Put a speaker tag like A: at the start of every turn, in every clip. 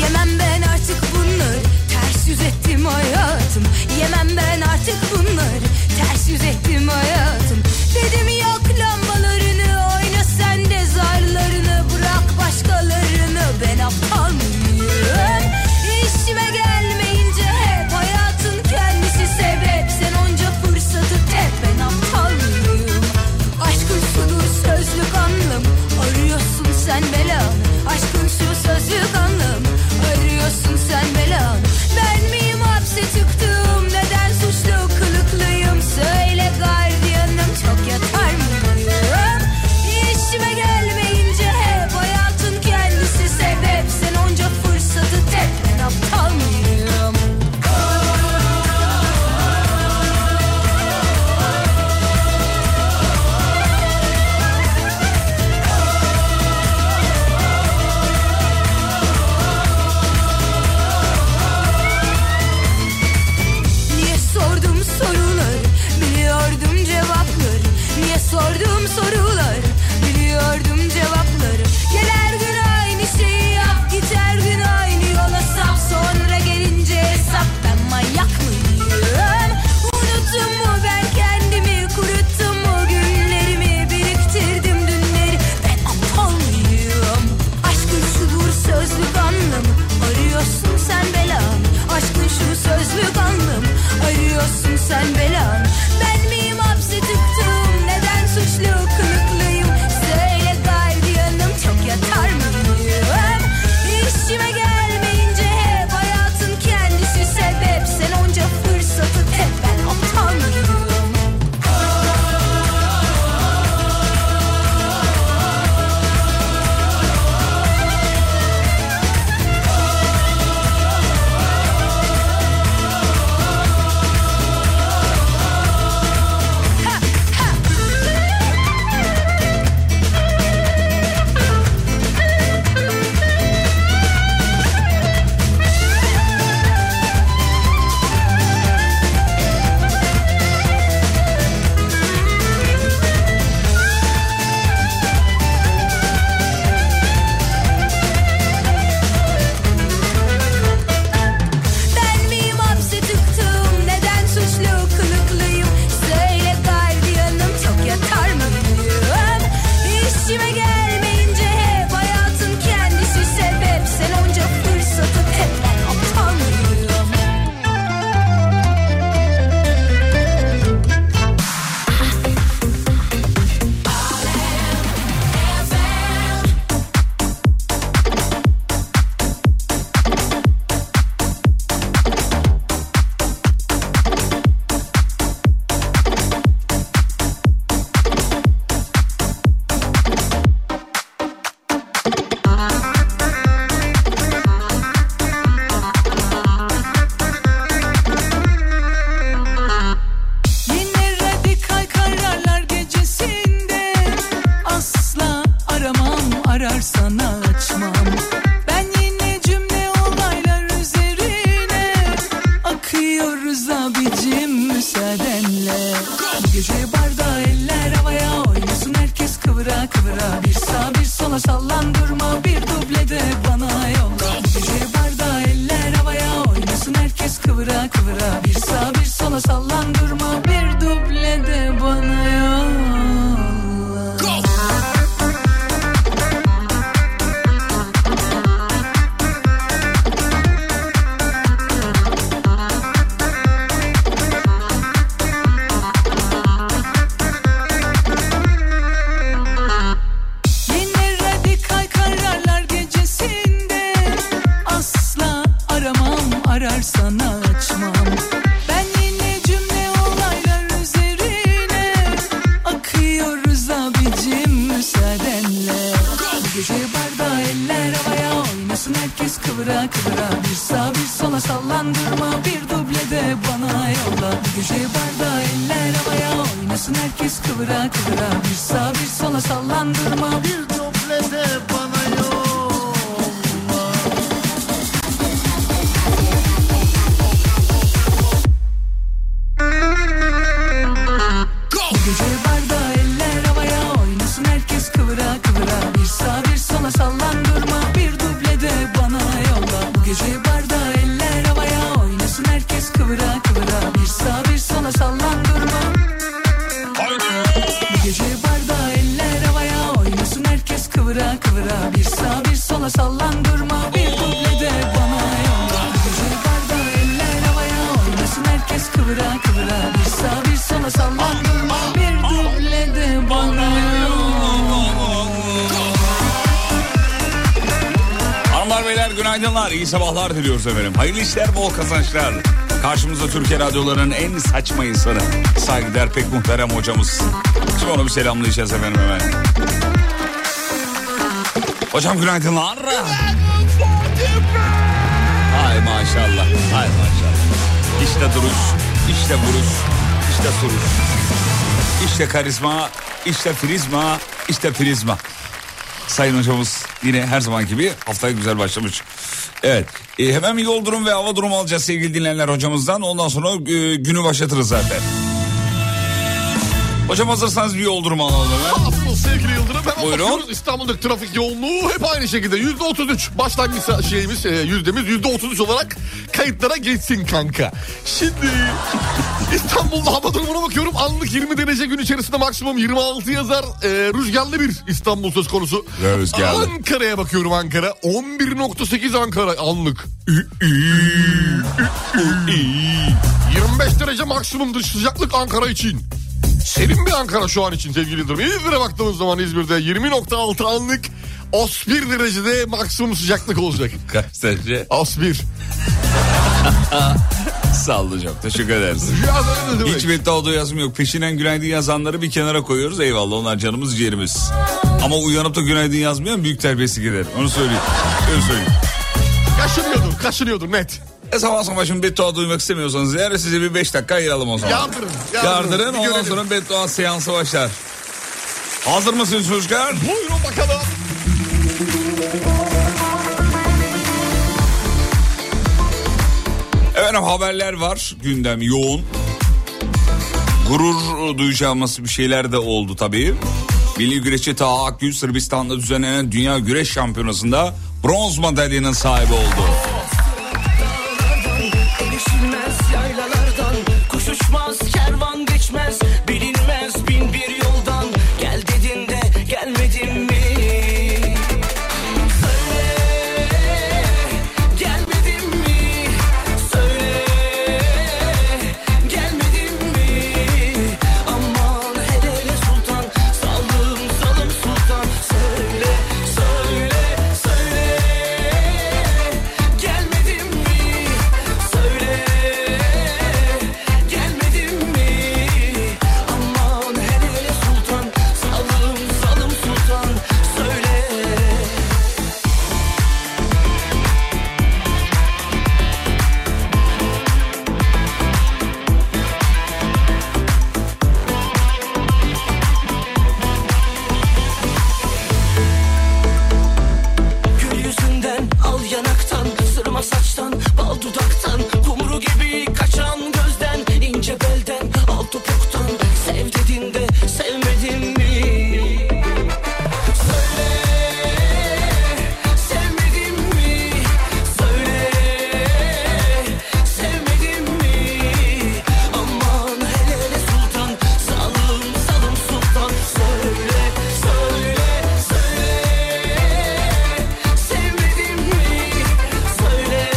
A: Yemem ben artık bunları Ters yüz ettim hayatım Yemem ben artık bunları Ters yüz ettim hayatım Dedim yok lambalarını Oyna sen de zarlarını Bırak başkalarını Ben aptal mıyım İşime gelmeyince hep Hayatın kendisi sebep Sen onca fırsatı tep Ben aptal mıyım Aşkın şudur sözlük anlam Arıyorsun sen belanı Aşkın şu sözlük anlam Arıyorsun sen belanı Ben miyim hapse çıktım Neden suçlu kılıklıyım Söyle gardiyanım Çok yatar mıyım İşime gelmeyince hep Hayatın kendisi sebep Sen onca fırsatı tep Ben aptal mıyım Niye sordum soruları Biliyordum cevapları Niye sordum soruları Biliyordum cevapları Gel her gün aynı şeyi yap Git her gün aynı yola sap Sonra gelince hesap Ben manyak mıyım Unuttum mu ben kendimi Kuruttum mu günlerimi Biriktirdim dünleri Ben aptal mıyım Aşkın şudur sözlük anlamı Arıyorsun sen belanı Aşkın şu sözlük anlamı Arıyorsun sen belanı Ben miyim hapse tıktım Neden suçlu kılıklıyım Söyle gardiyanım çok yatar mıyım İşime gelmeyince hep Hayatın kendisi sebep Sen onca fırsatı tep Ben aptal mıyım Ben miyim hapse tıktım Neden suçlu kılıklıyım Söyle gardiyanım çok yatar mıyım İşime gelmeyince hep Hayatın kendisi sebep Sen onca fırsatı hep ben aptal mıyım
B: Yine radikal kararlar gecesinde Asla aramam ararsan açmam Ben yine cümle olaylar üzerine Akıyoruz abicim müsaadenle Gece barda eller havaya oynasın herkes kıvıra kıvıra Bir sağ bir sola sallan durma bir dublede bana yolla Gece barda eller havaya oynasın herkes kıvıra kıvıra Bir sağ bir sola sallan durma bir dublede bana yolla Yine radikal kararlar gecesinde Asla aramam ararsan açmam Ben yine cümle olaylar üzerine Akıyoruz abicim müsaadenle Gece barda eller havaya oynasın herkes kıvıra kıra kıra Bir sağ bir sola sallandırma Bir dublede bana yolla Bir Gece barda eller havaya Oynasın herkes kıvıra kıvıra Bir sağ bir sola sallandırma Bir
C: Dublede bana yolla
B: Gece barda eller havaya oynasın herkes kıvıra kıvıra Bir sağ bir sola sallandırma bir dublede bana yolla Bu gece barda eller havaya oynasın herkes kıvıra kıvıra Bir sağ bir sola sallandırma Bu gece barda eller havaya oynasın herkes kıvıra kıvıra Bir sağ bir sola sallandırma bir dublede bana yolla Bu gece barda eller havaya oynasın herkes kıvıra kıvıra Bir sağ bir sola sallandırma bir dublede bana yolla
D: Hanımlar beyler günaydınlar. iyi sabahlar diliyoruz efendim. Hayırlı işler, bol kazançlar. Karşımızda Türkiye radyolarının en saçma insanı. Saygıdeğer pek muhterem hocamız. Şimdi onu bir selamlayacağız efendim hemen. Hocam günaydınlar. Hay maşallah. Hay maşallah. İşte duruş, işte vuruş, işte soruş. İşte karizma, işte prizma, işte prizma. Sayın hocamız yine her zaman gibi haftaya güzel başlamış. Evet e, hemen bir yol durum ve hava durumu alacağız sevgili dinleyenler hocamızdan. Ondan sonra e, günü başlatırız zaten. Hocam hazırsanız bir yol durumu alalım hemen.
C: Asıl sevgili Yıldırım hemen
D: Buyurun.
C: bakıyoruz. İstanbul'daki trafik yoğunluğu hep aynı şekilde. Yüzde otuz üç başlangıç şeyimiz, e, yüzdemiz yüzde otuz üç olarak kayıtlara geçsin kanka. Şimdi İstanbul'da hava durumuna bakıyorum. Anlık 20 derece gün içerisinde maksimum 26 yazar. E, rüzgarlı bir İstanbul söz konusu.
D: Rüzgarlı.
C: Ankara'ya bakıyorum Ankara. 11.8 Ankara anlık. 25 derece maksimumdur sıcaklık Ankara için. Serin bir Ankara şu an için sevgili Yıldırım. İzmir'e baktığımız zaman İzmir'de 20.6 anlık 31 derecede maksimum sıcaklık olacak.
D: Kaç derece?
C: 31.
D: Sağ olun hocam teşekkür ederiz.
C: Rüyada ne demek?
D: Hiç bette olduğu yazım yok. Peşinden günaydın yazanları bir kenara koyuyoruz. Eyvallah onlar canımız ciğerimiz. Ama uyanıp da günaydın yazmayan büyük terbiyesi gider. Onu söyleyeyim. Öyle söyleyeyim.
C: Kaşınıyordur, kaşınıyordur net.
D: E sabah sabah şimdi beddua duymak istemiyorsanız eğer size bir 5 dakika ayıralım o zaman.
C: Yardırın, yardırın.
D: Yardırın,
C: Bir
D: ondan
C: görelim.
D: sonra beddua seansı başlar. Hazır mısınız çocuklar?
C: Buyurun bakalım.
D: Efendim haberler var. Gündem yoğun. Gurur duyacağımız bir şeyler de oldu tabii. Milli güreşçi Taha Akgül Sırbistan'da düzenlenen Dünya Güreş Şampiyonası'nda bronz madalyanın sahibi oldu.
E: Erişilmez yaylalardan Koşuşmaz kervan geçmez Bilinmez bin bir yoldan Gel dedin de gelmedin mi? Söyle gelmedin mi? Söyle gelmedin mi? Aman hele hele sultan Salım salım sultan Söyle söyle söyle Gelmedin mi? Söyle Gelmedin mi? Aman hele hele sultan Salım salım sultan Söyle Gül yüzünden, al yanaktan, sırma saçtan, bal dudaktan, kumru gibi kaçan gözden, ince belden, al topuktan, sev dedin de sevmedin mi? Söyle, sevmedin mi? Söyle, sevmedin mi? Aman hele hele sultan, salım salım sultan, söyle, söyle, söyle. Sevmedin mi? Söyle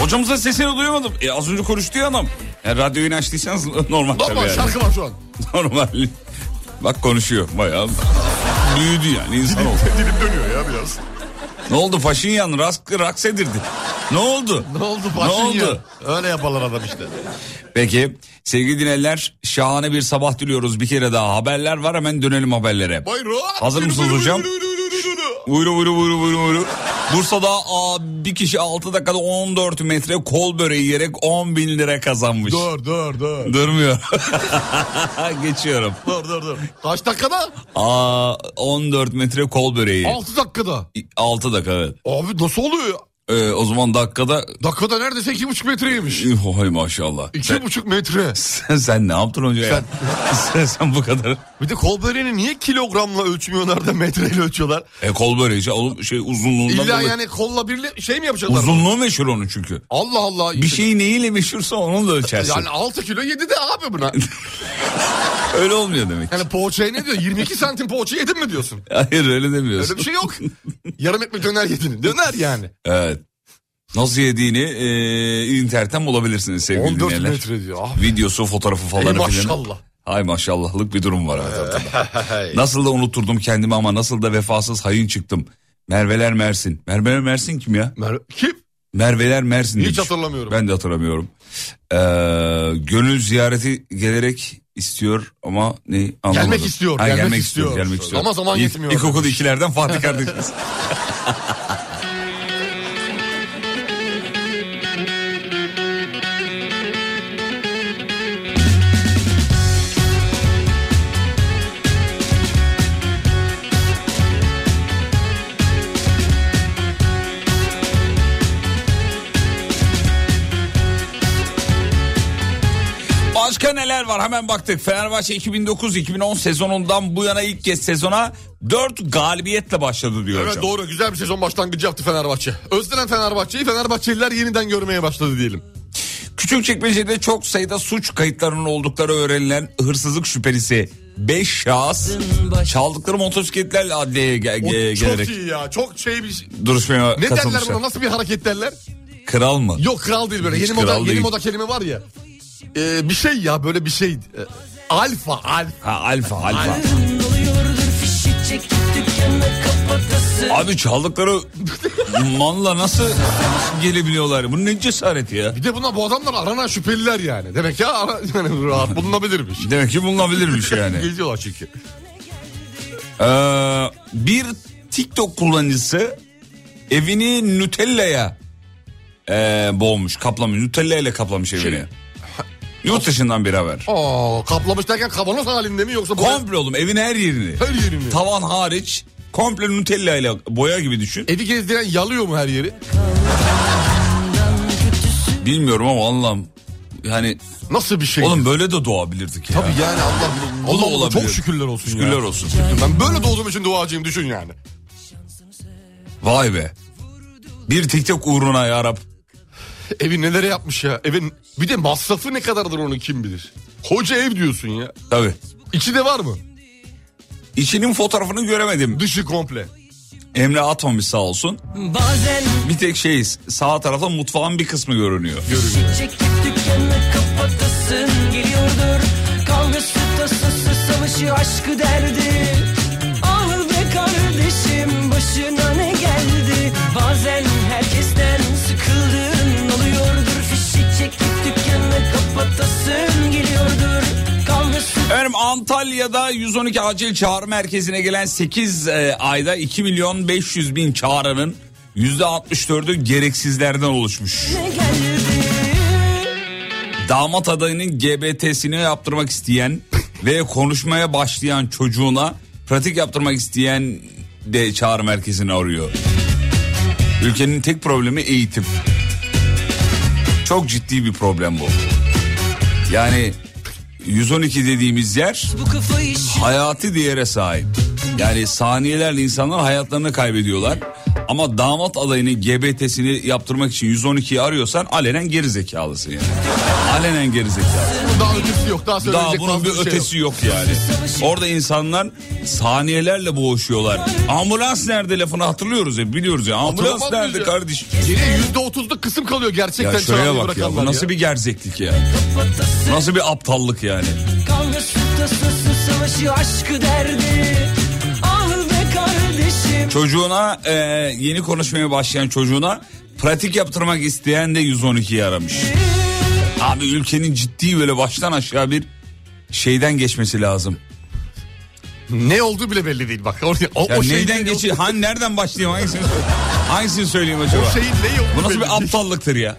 D: Hocamızın sesini duyamadım. E, az önce konuştu ya adam. E, radyoyu açtıysanız normal tabii
C: Normal
D: yani.
C: şarkı var şu an.
D: Normal. Bak konuşuyor bayağı. Büyüdü yani insan oldu.
C: Dilim dönüyor ya biraz.
D: Ne oldu Paşinyan raskı raks edirdi. Ne oldu?
C: Ne oldu başın
D: Ne oldu?
C: ya? Öyle yaparlar adam işte.
D: Peki sevgili dinleyenler şahane bir sabah diliyoruz bir kere daha. Haberler var hemen dönelim haberlere.
C: Buyurun.
D: Hazır mısınız hocam? Buyurun buyurun buyurun buyurun buyurun. Bursa'da aa, bir kişi 6 dakikada 14 metre kol böreği yiyerek 10 bin lira kazanmış.
C: Dur dur dur.
D: Durmuyor. Geçiyorum.
C: Dur dur dur. Kaç dakikada?
D: Aa, 14 metre kol böreği.
C: 6 dakikada.
D: 6 dakika evet.
C: Abi nasıl oluyor ya?
D: Ee, o zaman dakikada...
C: Dakikada neredeyse 2,5 metreymiş.
D: Üf, Hay maşallah. Sen,
C: 2,5 metre.
D: sen, sen ne yaptın hoca ya? Sen, sen bu kadar...
C: Bir de kol böreğini niye kilogramla ölçmüyorlar da metreyle ölçüyorlar?
D: E kol böreği şey, oğlum şey uzunluğundan
C: İlla
D: dolayı-
C: yani kolla birli şey mi yapacaklar?
D: Uzunluğu meşhur onun çünkü.
C: Allah Allah.
D: Bir şey şeyi neyiyle meşhursa onunla ölçersin.
C: Yani 6 kilo 7 de abi buna.
D: Öyle olmuyor demek.
C: Yani poğaçaya ne diyor? 22 santim poğaça yedin mi diyorsun?
D: Hayır öyle demiyorsun.
C: Öyle bir şey yok. Yarım ekmek döner yedin. Döner yani.
D: Evet. Nasıl yediğini e, internetten bulabilirsiniz sevgili
C: 14
D: dinleyenler.
C: metre diyor. Ah,
D: Videosu, fotoğrafı falan.
C: Ey
D: filan.
C: maşallah.
D: Hay maşallahlık bir durum var. evet, ortada. nasıl da unutturdum kendimi ama nasıl da vefasız hayın çıktım. Merveler Mersin. Merveler Mersin kim ya?
C: Mer- Kim?
D: Merveler Mersin.
C: Hiç
D: demiş.
C: hatırlamıyorum.
D: Ben de hatırlamıyorum. Ee, gönül ziyareti gelerek istiyor ama ne anlamadım.
C: Gelmek istiyor, gelmek istiyor.
D: Gelmek istiyor.
C: Ama zaman
D: İlk-
C: yetmiyor.
D: İlkokul ikilerden Fatih kardeşimiz. Başka neler var hemen baktık. Fenerbahçe 2009-2010 sezonundan bu yana ilk kez sezona 4 galibiyetle başladı diyor
C: Evet
D: hocam.
C: doğru güzel bir sezon başlangıcı yaptı Fenerbahçe. Özlenen Fenerbahçe'yi Fenerbahçeliler yeniden görmeye başladı diyelim.
D: Küçükçekmece'de çok sayıda suç kayıtlarının oldukları öğrenilen hırsızlık şüphelisi 5 şahıs çaldıkları motosikletlerle adliyeye ge-
C: O
D: ge-
C: çok
D: gelerek
C: iyi ya çok şey bir
D: duruşmaya
C: Ne derler
D: katılmışlar.
C: buna nasıl bir hareket derler?
D: Kral mı?
C: Yok kral değil böyle
D: Hiç
C: yeni moda,
D: kral
C: yeni
D: değil.
C: moda kelime var ya. Ee, bir şey ya böyle bir şey. Ee, alfa alfa.
D: Ha alfa alfa.
A: Doluyordur fişi çekip dükkanı kapatası
D: Abi çaldıkları manla nasıl gelebiliyorlar? Bu ne cesaret ya?
C: Bir de bunlar bu adamlar aranan şüpheliler yani. Demek ya ara, yani rahat bulunabilirmiş.
D: Demek ki bulunabilirmiş yani.
C: Geziyorlar çünkü.
D: Ee, bir TikTok kullanıcısı evini Nutella'ya ee, boğmuş, kaplamış. Nutella ile kaplamış evini.
C: Şey.
D: Yurt dışından bir haber.
C: Aa, kaplamış derken kavanoz halinde mi yoksa boya-
D: Komple oğlum evin her yerini.
C: her yeri mi?
D: Tavan hariç komple Nutella ile boya gibi düşün.
C: Evi gezdiren yalıyor mu her yeri?
D: Bilmiyorum ama Allah'ım yani
C: Nasıl bir şey?
D: oğlum böyle de doğabilirdik ya.
C: Tabii yani Allah
D: Bu da
C: Allah Allah,
D: olabilir.
C: çok şükürler olsun ya.
D: Şükürler olsun.
C: Ben böyle doğduğum için duacıyım düşün yani.
D: Vay be. Bir TikTok uğruna ya Rab.
C: Evi nelere yapmış ya. Evin bir de masrafı ne kadardır onu kim bilir. Hoca ev diyorsun ya.
D: Tabii.
C: İçi de var mı?
D: İçinin fotoğrafını göremedim.
C: Dışı komple.
D: Emre atmamış sağ olsun.
A: Bazen
D: Bir tek şeyiz. Sağ tarafta mutfağın bir kısmı görünüyor.
C: Görünüyor.
A: fişi çekip dükkanı kapatasın Geliyordur kavgası tasası savaşı aşkı derdi Ah be kardeşim başına ne geldi Bazen herkesten sıkıldın Oluyordur fişi çekip dükkanı kapatasın Geliyordur kavgası
D: Efendim Antalya'da 112 acil çağrı merkezine gelen 8 e, ayda 2 milyon 500 bin çağrının %64'ü gereksizlerden oluşmuş.
A: ne geldi
D: Damat adayının GBT'sini yaptırmak isteyen ve konuşmaya başlayan çocuğuna pratik yaptırmak isteyen de çağrı merkezini arıyor. Ülkenin tek problemi eğitim. Çok ciddi bir problem bu. Yani 112 dediğimiz yer
A: Bu kafa işi
D: hayati değere sahip. Yani saniyelerle insanlar hayatlarını kaybediyorlar. Ama damat adayının GBT'sini yaptırmak için 112'yi arıyorsan alenen gerizekalısın yani. Alenen gerizekalı.
C: Daha ötesi yok. Daha
D: Daha
C: söyleyecek
D: bunun
C: fazla
D: bir
C: şey yok.
D: ötesi yok yani. Orada insanlar saniyelerle boğuşuyorlar. Ambulans nerede lafını hatırlıyoruz ya biliyoruz ya. Ambulans
C: Hatırlamaz mıyız
D: nerede
C: ya?
D: kardeşim?
C: Geriye yüzde otuzluk kısım kalıyor gerçekten.
D: Ya şuraya bak
C: çalmayı
D: ya bu
C: bırakanlar
D: nasıl
C: ya.
D: bir gerzeklik ya. Nasıl bir aptallık yani.
E: Kavga sütası savaşı aşkı derdi Ah be kardeşim
D: Çocuğuna e, yeni konuşmaya başlayan çocuğuna pratik yaptırmak isteyen de 112'yi aramış. Abi ülkenin ciddi böyle baştan aşağı bir şeyden geçmesi lazım.
C: Ne olduğu bile belli değil bak. O, o,
D: Ya
C: o şeyin
D: neyden
C: ne-
D: geçi? Han nereden başlayayım? Hangisini, hangisini söyleyeyim acaba?
C: O şeyin ne olduğu
D: Bu nasıl
C: belli
D: bir
C: şey değil.
D: aptallıktır ya?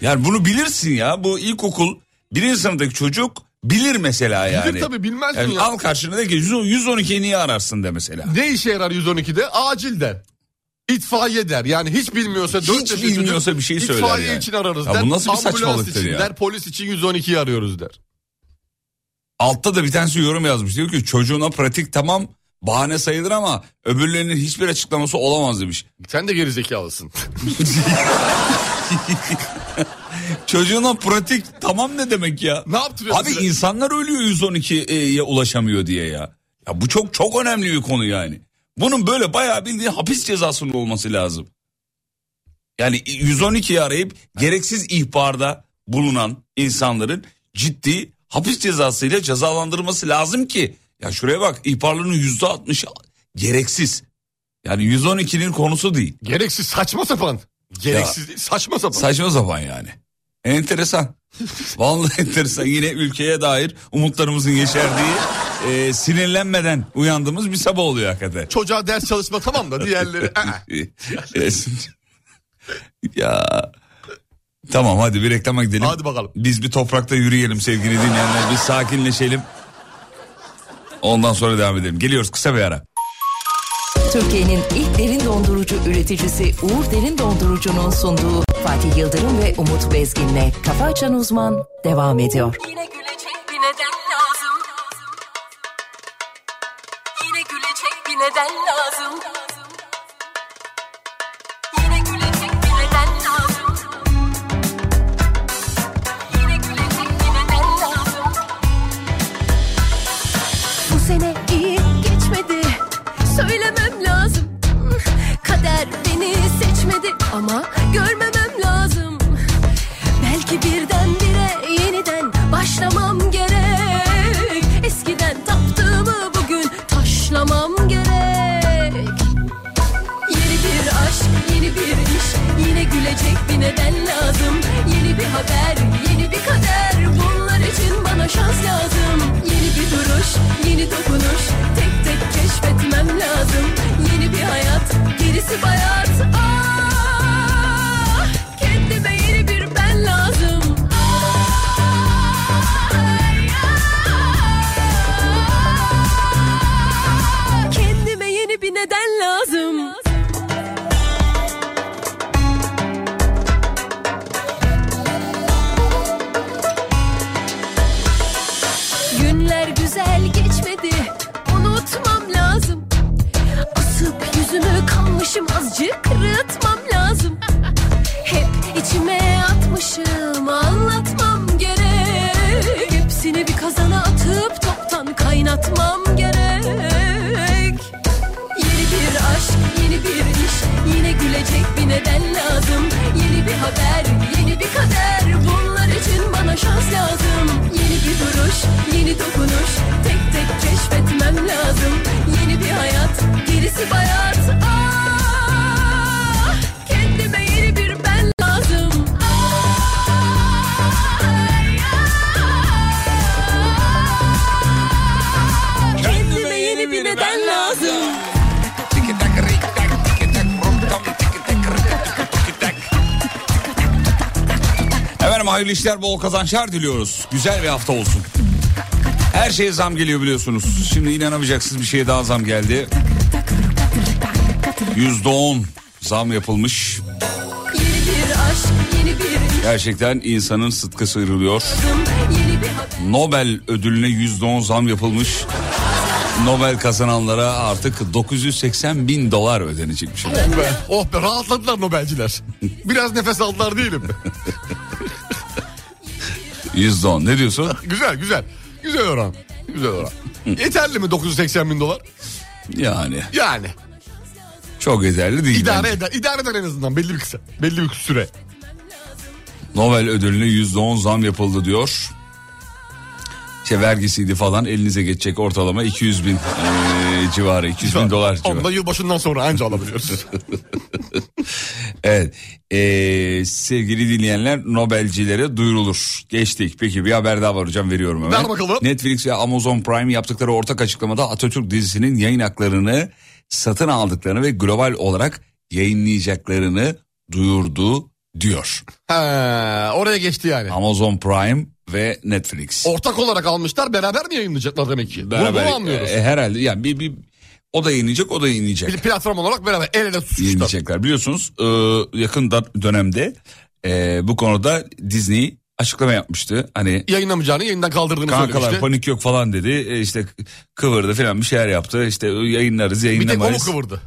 D: Yani bunu bilirsin ya. Bu ilkokul birinci sınıftaki çocuk bilir mesela yani.
C: tabii, bilmez mi
D: yani
C: ya?
D: Al karşına de ki 112'yi niye ararsın de mesela.
C: Ne işe yarar 112'de? Acil der. İtfaiye der. Yani hiç bilmiyorsa dört
D: Hiç
C: yaşındaki
D: bilmiyorsa
C: çocuk,
D: bir şey söyler
C: İtfaiye
D: yani.
C: için ararız
D: Ya
C: der.
D: bu nasıl bir
C: Ambulans
D: saçmalıktır
C: için
D: ya?
C: der. Polis için 112'yi arıyoruz der.
D: Altta da bir tanesi yorum yazmış. Diyor ki çocuğuna pratik tamam bahane sayılır ama öbürlerinin hiçbir açıklaması olamaz demiş.
C: Sen de gerizekalısın.
D: Çocuğuna pratik tamam ne demek ya?
C: Ne yaptırıyor
D: Abi
C: size?
D: insanlar ölüyor 112'ye ulaşamıyor diye ya. Ya bu çok çok önemli bir konu yani. Bunun böyle bayağı bildiğin hapis cezasının olması lazım. Yani 112'yi arayıp gereksiz ihbarda bulunan insanların ciddi hapis cezasıyla cezalandırılması lazım ki. Ya şuraya bak ihbarların %60'ı gereksiz. Yani 112'nin konusu değil.
C: Gereksiz saçma sapan. Gereksiz değil, saçma sapan.
D: Saçma sapan yani. Enteresan. Vallahi enteresan. Yine ülkeye dair umutlarımızın yeşerdiği, e, sinirlenmeden uyandığımız bir sabah oluyor hakikaten.
C: Çocuğa ders çalışma tamam da diğerleri. "Aa."
D: E, ya Tamam hadi bir reklama gidelim.
C: Hadi bakalım.
D: Biz bir toprakta yürüyelim sevgili dinleyenler. Bir sakinleşelim. Ondan sonra devam edelim. Geliyoruz kısa bir ara.
F: Türkiye'nin ilk derin dondurucu üreticisi Uğur Derin Dondurucu'nun sunduğu Fatih Yıldırım ve Umut Bezgin'le Kafa Açan Uzman devam ediyor.
G: Yine gülecek bir neden lazım. Yine gülecek bir neden lazım. Yine gülecek bir neden lazım. Yine gülecek bir neden lazım.
H: Bu sene iyi geçmedi Söylemem lazım Kader beni seçmedi Ama görmemem lazım Belki birdenbire yeniden başlamam gerek Eskiden taptığımı bugün taşlamam gerek Yeni bir aşk, yeni bir iş, yine gülecek bir neden lazım. Yeni bir haber, yeni bir kader, bunlar için bana şans lazım. Yeni bir duruş, yeni dokunuş, tek tek keşfetmem lazım. Yeni bir hayat, gerisi bayat. Ah, kendime yeni bir ben lazım. Ay, ay. Kendime yeni bir neden lazım. Günler güzel geçmedi Unutmam lazım Asıp yüzümü kalmışım Azıcık kırıtmam lazım Hep içime atmışım Anlatmam gerek Hepsini bir kazana atıp Toptan kaynatmam gerek Yeni bir aşk, yeni bir iş, yine gülecek bir neden lazım. Yeni bir haber, yeni bir kader, bunlar için bana şans lazım. Yeni bir duruş, yeni dokunuş, tek tek keşfetmem lazım. Yeni bir hayat, gerisi bayat. Ah, kendime yeni bir ben lazım. Ah, Ay, ay. Kendime yeni bir neden lazım.
D: Efendim hayırlı işler bol kazançlar diliyoruz. Güzel bir hafta olsun. Her şeye zam geliyor biliyorsunuz. Şimdi inanamayacaksınız bir şeye daha zam geldi. %10 zam yapılmış.
H: Yeni bir aşk, yeni bir
D: Gerçekten insanın sıtkı sıyrılıyor.
H: yeni bir haber.
D: Nobel ödülüne %10 zam yapılmış. Nobel kazananlara artık 980 bin dolar ödenecekmiş.
C: Oh be, oh be rahatladılar Nobelciler. Biraz nefes aldılar değilim.
D: Yüzde on. Ne diyorsun?
C: Güzel güzel. Güzel oran. Güzel oran. Yeterli mi 980 bin dolar?
D: Yani
C: Yani.
D: çok yeterli değil.
C: idare
D: bence.
C: eder. İdare eder en azından belli bir kısa. Belli bir süre.
D: Nobel ödülüne yüzde on zam yapıldı diyor. İşte vergisiydi falan elinize geçecek ortalama 200 bin eee, civarı 200 bin dolar civarı.
C: Onu da yılbaşından sonra anca alabiliyoruz.
D: Evet. Ee, sevgili dinleyenler Nobelcilere duyurulur. Geçtik. Peki bir haber daha var hocam veriyorum hemen.
C: Ver bakalım.
D: Netflix ve Amazon Prime yaptıkları ortak açıklamada Atatürk dizisinin yayın haklarını satın aldıklarını ve global olarak yayınlayacaklarını duyurdu diyor.
C: ha, oraya geçti yani.
D: Amazon Prime ve Netflix.
C: Ortak olarak almışlar beraber mi yayınlayacaklar demek ki? Bunu-
D: Beraber-
C: Bunu anlıyoruz.
D: e, herhalde yani bir, bir o da yayınlayacak o da yayınlayacak.
C: Bir platform olarak beraber el ele tutuşmuşlar.
D: yenilecekler. Biliyorsunuz e, yakın da- dönemde e, bu konuda Disney açıklama yapmıştı. Hani
C: Yayınlamayacağını yayından kaldırdığını
D: kankalar
C: söylemişti.
D: panik yok falan dedi. E, işte kıvırdı falan bir şeyler yaptı. İşte yayınlarız
C: bir tek o mu
D: yayınlamayız.
C: kıvırdı?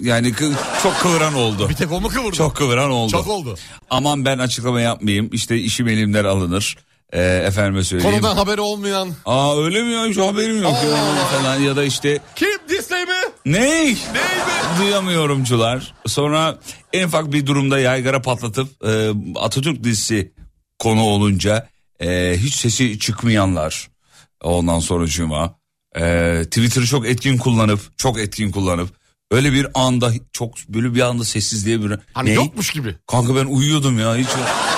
D: yani kı- çok kıvıran oldu.
C: Bir tek o mu kıvırdı?
D: Çok kıvıran oldu.
C: Çok oldu.
D: Aman ben açıklama yapmayayım. İşte işim elimden alınır. E, efendime söyleyeyim.
C: Konudan haberi olmayan.
D: Aa öyle mi ya hiç haberim yok
C: Allah
D: ya
C: Allah.
D: falan ya da işte
C: Kim? Disney mi?
D: ne?
C: Ney mi?
D: Duyamıyorumcular. Sonra en ufak bir durumda yaygara patlatıp e, Atatürk dizisi konu olunca e, hiç sesi çıkmayanlar. Ondan sonra cuma. E, Twitter'ı çok etkin kullanıp çok etkin kullanıp öyle bir anda çok böyle bir anda sessizliğe bir...
C: Hani
D: Ne?
C: yokmuş gibi.
D: Kanka ben uyuyordum ya hiç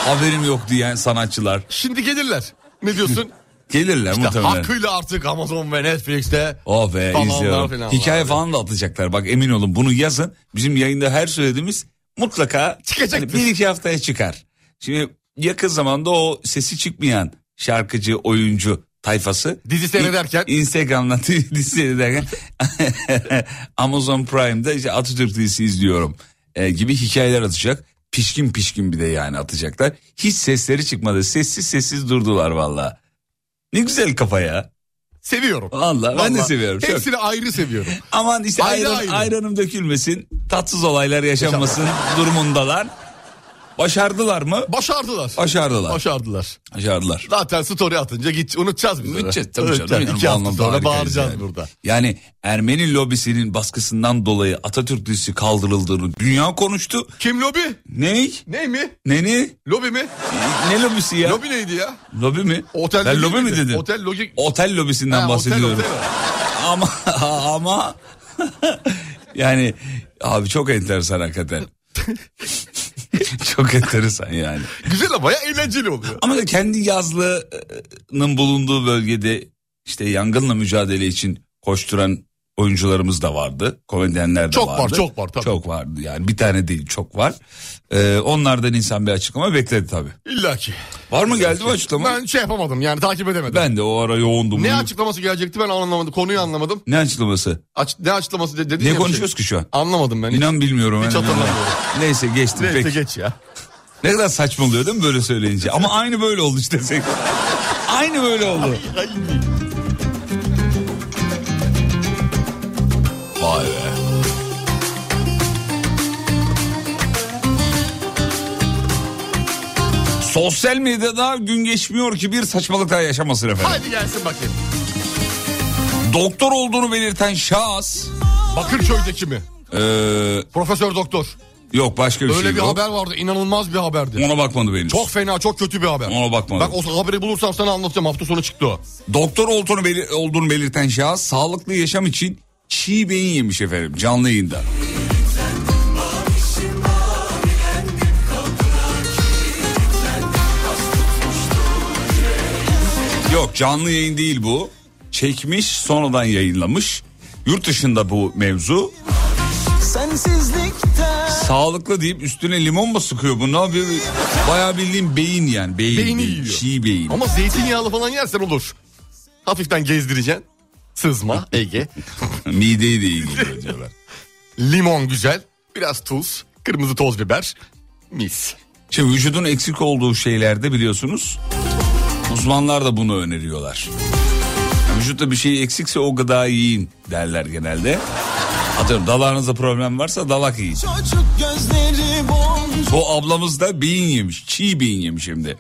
D: haberim yok diyen sanatçılar.
C: Şimdi gelirler. Ne diyorsun?
D: Gelirler
C: İşte
D: muhtemelen.
C: hakkıyla artık Amazon ve Netflix'te
D: Oh be
C: Falanlar
D: izliyorum.
C: filanlar.
D: Hikaye falan da atacaklar. Bak emin olun bunu yazın. Bizim yayında her söylediğimiz mutlaka hani
C: Çıkacaktır.
D: bir iki haftaya çıkar. Şimdi yakın zamanda o sesi çıkmayan şarkıcı, oyuncu tayfası.
C: Dizi seyrederken.
D: İ- Instagram'dan dizi seyrederken Amazon Prime'da işte Atatürk dizisi izliyorum e, gibi hikayeler atacak. Pişkin pişkin bir de yani atacaklar. Hiç sesleri çıkmadı. Sessiz sessiz durdular valla. Ne güzel kafa ya.
C: seviyorum.
D: Vallahi ben de seviyorum. Çok.
C: Hepsini ayrı seviyorum.
D: Aman işte
C: Ayrı
D: ayran,
C: ayrı.
D: ayranım dökülmesin, tatsız olaylar yaşanmasın durumundalar. Başardılar mı?
C: Başardılar.
D: Başardılar.
C: Başardılar.
D: Başardılar.
C: Zaten story atınca git unutacağız biz. onu.
D: Bütçe tabii canım.
C: Unutacağız.
D: Yani
C: İki
D: bu
C: hafta
D: anlamda
C: sonra
D: harikayız
C: bağıracağız
D: yani.
C: burada.
D: Yani Ermeni lobisinin baskısından dolayı Atatürk dizisi kaldırıldığını dünya konuştu.
C: Kim lobi?
D: Ney?
C: Ney mi?
D: Neni?
C: Lobi mi?
D: Ne lobisi ya?
C: Lobi neydi ya?
D: Lobi mi?
C: Otel
D: ben
C: lobi
D: lobi mi
C: miydi?
D: dedim?
C: Otel logi-
D: Otel lobisinden
C: Ha, otel,
D: bahsediyorum.
C: otel.
D: ama ama yani abi çok enteresan hakikaten. çok enteresan yani.
C: Güzel ama ya eğlenceli oluyor.
D: Ama da kendi yazlığının bulunduğu bölgede işte yangınla mücadele için koşturan oyuncularımız da vardı. Komedyenler de
C: Çok var,
D: vardı.
C: çok var tabii.
D: Çok vardı yani bir tane değil çok var. Ee, onlardan insan bir açıklama bekledi tabii.
C: İlla ki.
D: Var mı geldi mi açıklama? Ben,
C: Ben şey yapamadım yani takip edemedim.
D: de o ara yoğundum.
C: Ne
D: Bunu-
C: açıklaması gelecekti ben anlamadım. Konuyu anlamadım.
D: Ne açıklaması?
C: Aç- ne açıklaması de- dedin
D: Ne
C: ya bir
D: konuşuyoruz
C: şey.
D: ki şu an?
C: Anlamadım ben.
D: İnan bilmiyorum.
C: Hiç
D: ben de.
C: hatırlamıyorum.
D: Neyse geçtim.
C: Neyse
D: Peki.
C: geç ya.
D: Ne kadar saçma oluyor değil mi böyle söyleyince? Ama aynı böyle oldu işte. aynı böyle oldu. Vay be. Sosyal medyada gün geçmiyor ki bir saçmalık daha yaşamasın efendim.
C: Hadi gelsin bakayım.
D: Doktor olduğunu belirten şahıs...
C: Bakırköy'deki mi?
D: eee,
C: Profesör doktor.
D: yok başka bir
C: Öyle
D: şey
C: bir
D: yok.
C: haber vardı. inanılmaz bir haberdi.
D: Ona bakmadı benim.
C: Çok fena, çok kötü bir haber.
D: Ona bakmadım.
C: Bak o haberi bulursam sana anlatacağım. Hafta sonu çıktı o.
D: Doktor olduğunu, belir- olduğunu belirten şahıs sağlıklı yaşam için çiğ beyin yemiş efendim canlı yayında. Yok canlı yayın değil bu. Çekmiş sonradan yayınlamış. Yurt dışında bu mevzu.
A: Sensizlikten
D: Sağlıklı deyip üstüne limon mu sıkıyor bu? Ne yapıyor? Bayağı bildiğin beyin yani. Beyin,
C: Beyni
D: beyin,
C: yiyor.
D: Çiğ beyin.
C: Ama zeytinyağlı falan yersen olur. Hafiften gezdireceksin. Sızma, Ege.
D: Mideyi de ilgiliyor diyorlar.
C: Limon güzel. Biraz tuz. Kırmızı toz biber. Mis.
D: Şimdi Şey, vücudun eksik olduğu şeylerde biliyorsunuz uzmanlar da bunu öneriyorlar. Yani Vücutta bir şey eksikse o gıdayı yiyin derler genelde. Atıyorum dalağınızda problem varsa dalak yiyin.
A: çocuk gözleri boncuk
D: Bu ablamız da beyin yemiş, çiğ beyin yemiş hem de.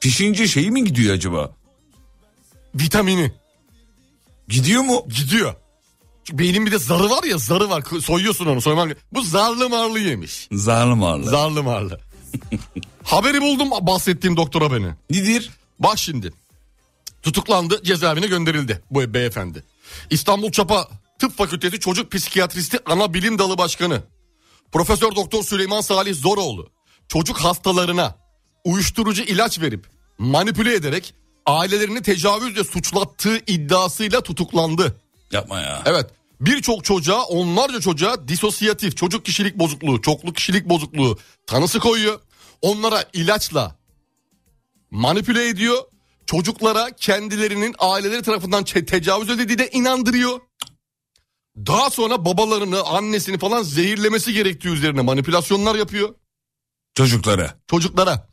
D: Pişince şeyi mi gidiyor acaba?
C: Vitamini
D: Gidiyor mu?
C: gidiyor. Çünkü beynin bir de zarı var ya zarı var soyuyorsun onu soyman. Bu zarlı marlı yemiş.
D: Zarlı marlı.
C: Zarlı marlı. Haberi buldum bahsettiğim doktora beni.
D: Nedir?
C: Bak şimdi. Tutuklandı, cezaevine gönderildi bu beyefendi. İstanbul Çapa Tıp Fakültesi Çocuk Psikiyatristi Ana Bilim Dalı Başkanı. Profesör Doktor Süleyman Salih Zoroğlu çocuk hastalarına uyuşturucu ilaç verip manipüle ederek ailelerini tecavüzle suçlattığı iddiasıyla tutuklandı.
D: Yapma ya.
C: Evet. Birçok çocuğa, onlarca çocuğa disosiyatif, çocuk kişilik bozukluğu, çoklu kişilik bozukluğu tanısı koyuyor. Onlara ilaçla manipüle ediyor. Çocuklara kendilerinin aileleri tarafından çe- tecavüz edildiği de inandırıyor. Daha sonra babalarını, annesini falan zehirlemesi gerektiği üzerine manipülasyonlar yapıyor
D: Çocuklara.
C: çocuklara.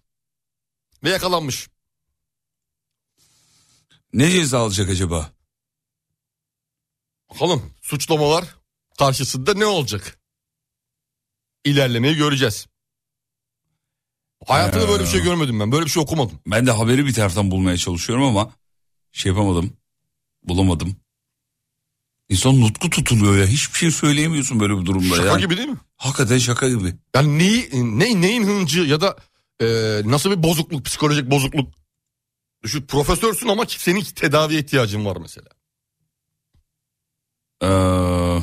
C: Ve yakalanmış.
D: Ne ceza alacak acaba?
C: Bakalım suçlamalar karşısında ne olacak? İlerlemeyi göreceğiz. Hayatımda böyle bir
D: Ee.
C: şey görmedim ben. Böyle bir şey okumadım.
D: Ben de haberi bir taraftan bulmaya çalışıyorum ama şey yapamadım. Bulamadım. İnsan nutku tutuluyor ya. Hiçbir şey söyleyemiyorsun böyle bir durumda
C: Şaka
D: ya.
C: gibi değil mi?
D: Hakikaten şaka gibi.
C: Yani neyi, ne, neyin hıncı ya da e, nasıl bir bozukluk, psikolojik bozukluk. Düşün profesörsün ama senin tedaviye ihtiyacın var mesela.
D: Ee,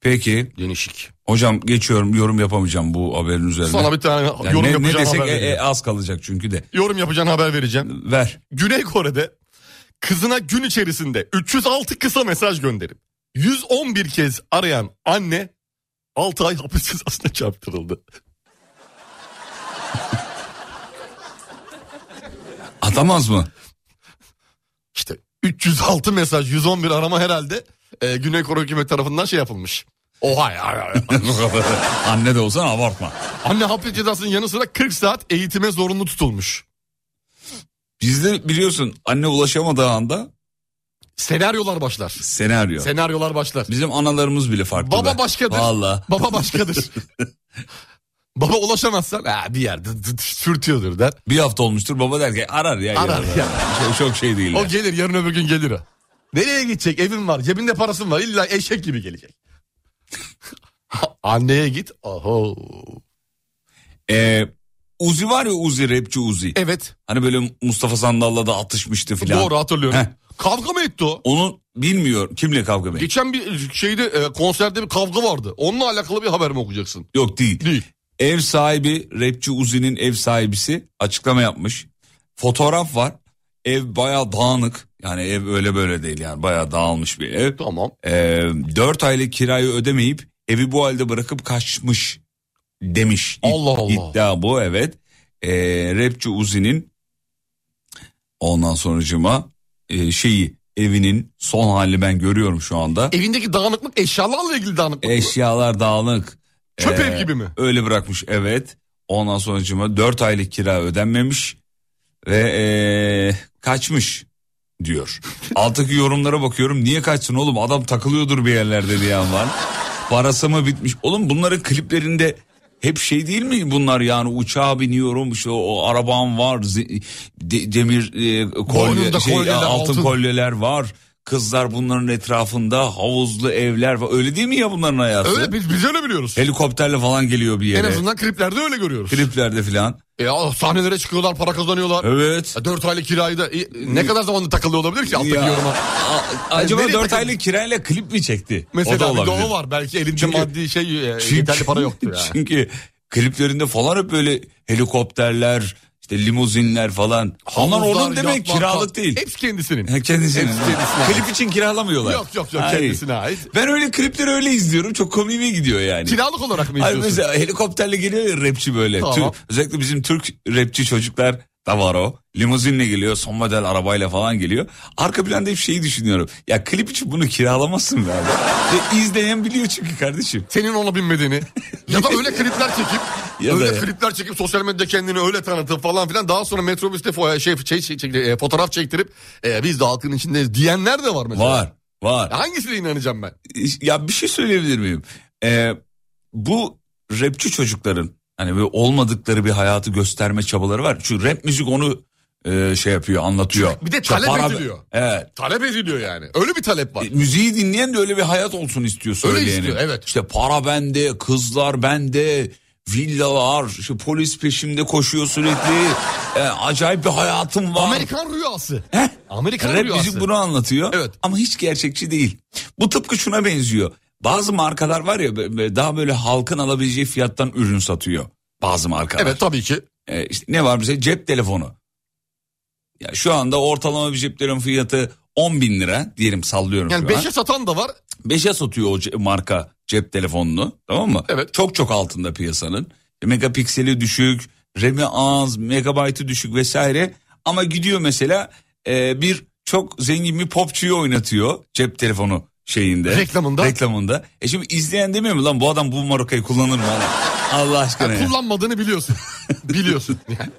D: peki
C: Genişik.
D: hocam geçiyorum yorum yapamayacağım bu haberin üzerine.
C: Sana bir tane
D: Yani
C: yorum
D: ne, ne
C: yapacağım
D: desek
C: haber
D: e, e,
C: vereceğim.
D: az kalacak çünkü de.
C: Yorum yapacağın haber vereceğim.
D: Ver.
C: Güney Kore'de kızına gün içerisinde 306 kısa mesaj gönderip 111 kez arayan anne 6 ay hapis cezasına çarptırıldı.
D: Atamaz mı?
C: İşte 306 mesaj 111 arama herhalde e, Güney Kore hükümeti tarafından şey yapılmış. Oha ya. ya, ya.
D: Anne de olsan abartma.
C: anne hapis cezasının yanı sıra 40 saat eğitime zorunlu tutulmuş.
D: Bizde biliyorsun anne ulaşamadığı anda
C: Senaryolar başlar.
D: senaryo.
C: Senaryolar başlar.
D: Bizim analarımız bile farklı.
C: Baba
D: be.
C: başkadır.
D: Valla.
C: Baba başkadır. Baba ulaşamazsan ha, bir yerde dı- dı- sürtüyordur der.
D: Bir hafta olmuştur baba der ki arar ya.
C: Arar
D: yine
C: ya.
D: Çok, çok şey değil.
C: O
D: ya.
C: gelir yarın öbür gün gelir o. Nereye gidecek? Evim var, cebinde parasım var. İlla eşek gibi gelecek. Anneye git. Oho.
D: Ee, Uzi var ya Uzi rapçi Uzi.
C: Evet.
D: Hani böyle Mustafa Sandal'la da atışmıştı filan.
C: Doğru hatırlıyorum.
D: Heh.
C: Kavga mı etti o?
D: Onun bilmiyor kimle kavga mı?
C: Geçen bir şeyde e, konserde bir kavga vardı. Onunla alakalı bir haber mi okuyacaksın?
D: Yok değil.
C: Değil.
D: Ev sahibi rapçi Uzi'nin ev sahibisi açıklama yapmış. Fotoğraf var. Ev baya dağınık. Yani ev öyle böyle değil yani baya dağılmış bir ev.
C: Tamam.
D: Ee, 4 aylık kirayı ödemeyip evi bu halde bırakıp kaçmış demiş. İd-
C: Allah Allah.
D: İddia bu evet. Ee, rapçi Uzi'nin ondan sonucuma şeyi evinin son hali ben görüyorum şu anda.
C: Evindeki dağınıklık eşyalarla ilgili dağınıklık. mı?
D: Eşyalar dağınık.
C: Çöp
D: Ee,
C: ev gibi mi?
D: Öyle bırakmış evet. Ondan sonucuma 4 aylık kira ödenmemiş ve ee, kaçmış diyor. Alttaki yorumlara bakıyorum niye kaçsın oğlum adam takılıyordur bir yerlerde diyen var. Parası mı bitmiş? Oğlum bunların kliplerinde hep şey değil mi bunlar yani uçağa biniyorum işte o arabam var zi- de- demir e, kolye,
C: Boynunda
D: şey,
C: kolyeler,
D: altın,
C: altın.
D: kolyeler var. Kızlar bunların etrafında havuzlu evler var. Öyle değil mi ya bunların hayatı?
C: Öyle biz, biz öyle biliyoruz.
D: Helikopterle falan geliyor bir
C: En
D: yere.
C: azından kliplerde öyle görüyoruz. E,
D: Kliplerde falan.
C: Ya sahnelere çıkıyorlar, para kazanıyorlar.
D: Evet.
C: 4 aylık kirayı da e, ne kadar zamanda takılıyor olabilir ki alttaki
D: Ya,
C: yoruma?
D: a- acaba
C: Nereye
D: 4
C: takıldın?
D: aylık kirayla klip mi çekti?
C: Mesela
D: o da
C: bir de
D: olabilir.
C: o var belki elinde
D: Çünkü-
C: maddi şey e, yeterli para yoktu yani.
D: Çünkü kliplerinde falan hep böyle helikopterler, işte limuzinler falan. Onlar
C: Havuzlar,
D: onun demek
C: yatlar,
D: kiralık
C: kal-
D: değil.
C: Hepsi kendisinin.
D: Ha, Kendisine.
C: Hepsi kendisine ait.
D: Klip için kiralamıyorlar.
C: Yok yok yok
D: Hayır.
C: kendisine ait.
D: Ben öyle klipleri öyle izliyorum. Çok komiğime gidiyor yani.
C: Kiralık olarak mı
D: Hayır
C: izliyorsun?
D: mesela helikopterle geliyor ya rapçi böyle.
C: Tamam.
D: Türk- özellikle bizim Türk rapçi çocuklar da var o. Limuzinle geliyor, son model arabayla falan geliyor. Arka planda hep şeyi düşünüyorum. Ya klip için bunu kiralamazsın be abi. Ya izleyen biliyor çünkü kardeşim.
C: Senin ona binmediğini. ya da öyle klipler çekip
D: Ya da
C: öyle
D: ya.
C: klipler çekip sosyal medyada kendini öyle tanıtıp falan filan daha sonra metrobüste fo- şey, şey, şey- şey- e, fotoğraf çektirip e, biz de halkın içindeyiz diyenler de var mesela.
D: Var, var.
C: Ya Hangisine inanacağım ben?
D: Ya bir şey söyleyebilir miyim? Ee, bu rapçi çocukların Hani böyle olmadıkları bir hayatı gösterme çabaları var. Çünkü rap müzik onu e, şey yapıyor, anlatıyor.
C: Bir de
D: İşte
C: talep
D: para-
C: ediliyor.
D: Evet.
C: Talep ediliyor yani. Öyle bir talep var.
D: E, Müziği dinleyen de öyle bir hayat olsun istiyor söyleyenin.
C: istiyor, evet.
D: İşte para bende, kızlar bende, villalar, işte polis peşimde koşuyor sürekli. E, acayip bir hayatım var.
C: Amerikan rüyası.
D: Heh.
C: Amerikan
D: Rap
C: rüyası.
D: müzik bunu anlatıyor
C: Evet.
D: ama hiç gerçekçi değil. Bu tıpkı şuna benziyor. Bazı markalar var ya be- be- daha böyle halkın alabileceği fiyattan ürün satıyor bazı markalar.
C: Evet tabii ki.
D: Ee, işte ne var bize cep telefonu. Ya şu anda ortalama bir cep telefonu fiyatı 10 bin lira diyelim sallıyorum
C: Yani
D: şu an.
C: 5'e satan da var.
D: 5'e satıyor o ce- marka cep telefonunu tamam mı?
C: Evet.
D: Çok çok altında piyasanın. E, Megapikseli düşük, RAM'i az, megabaytı düşük vesaire. Ama gidiyor mesela e, bir çok zengin bir popçuyu oynatıyor cep telefonu şeyinde.
C: Reklamında.
D: Reklamında. E şimdi izleyen demiyor mu lan bu adam bu markayı kullanır mı? Hani Allah aşkına ya.
C: Kullanmadığını biliyorsun. biliyorsun. Yani.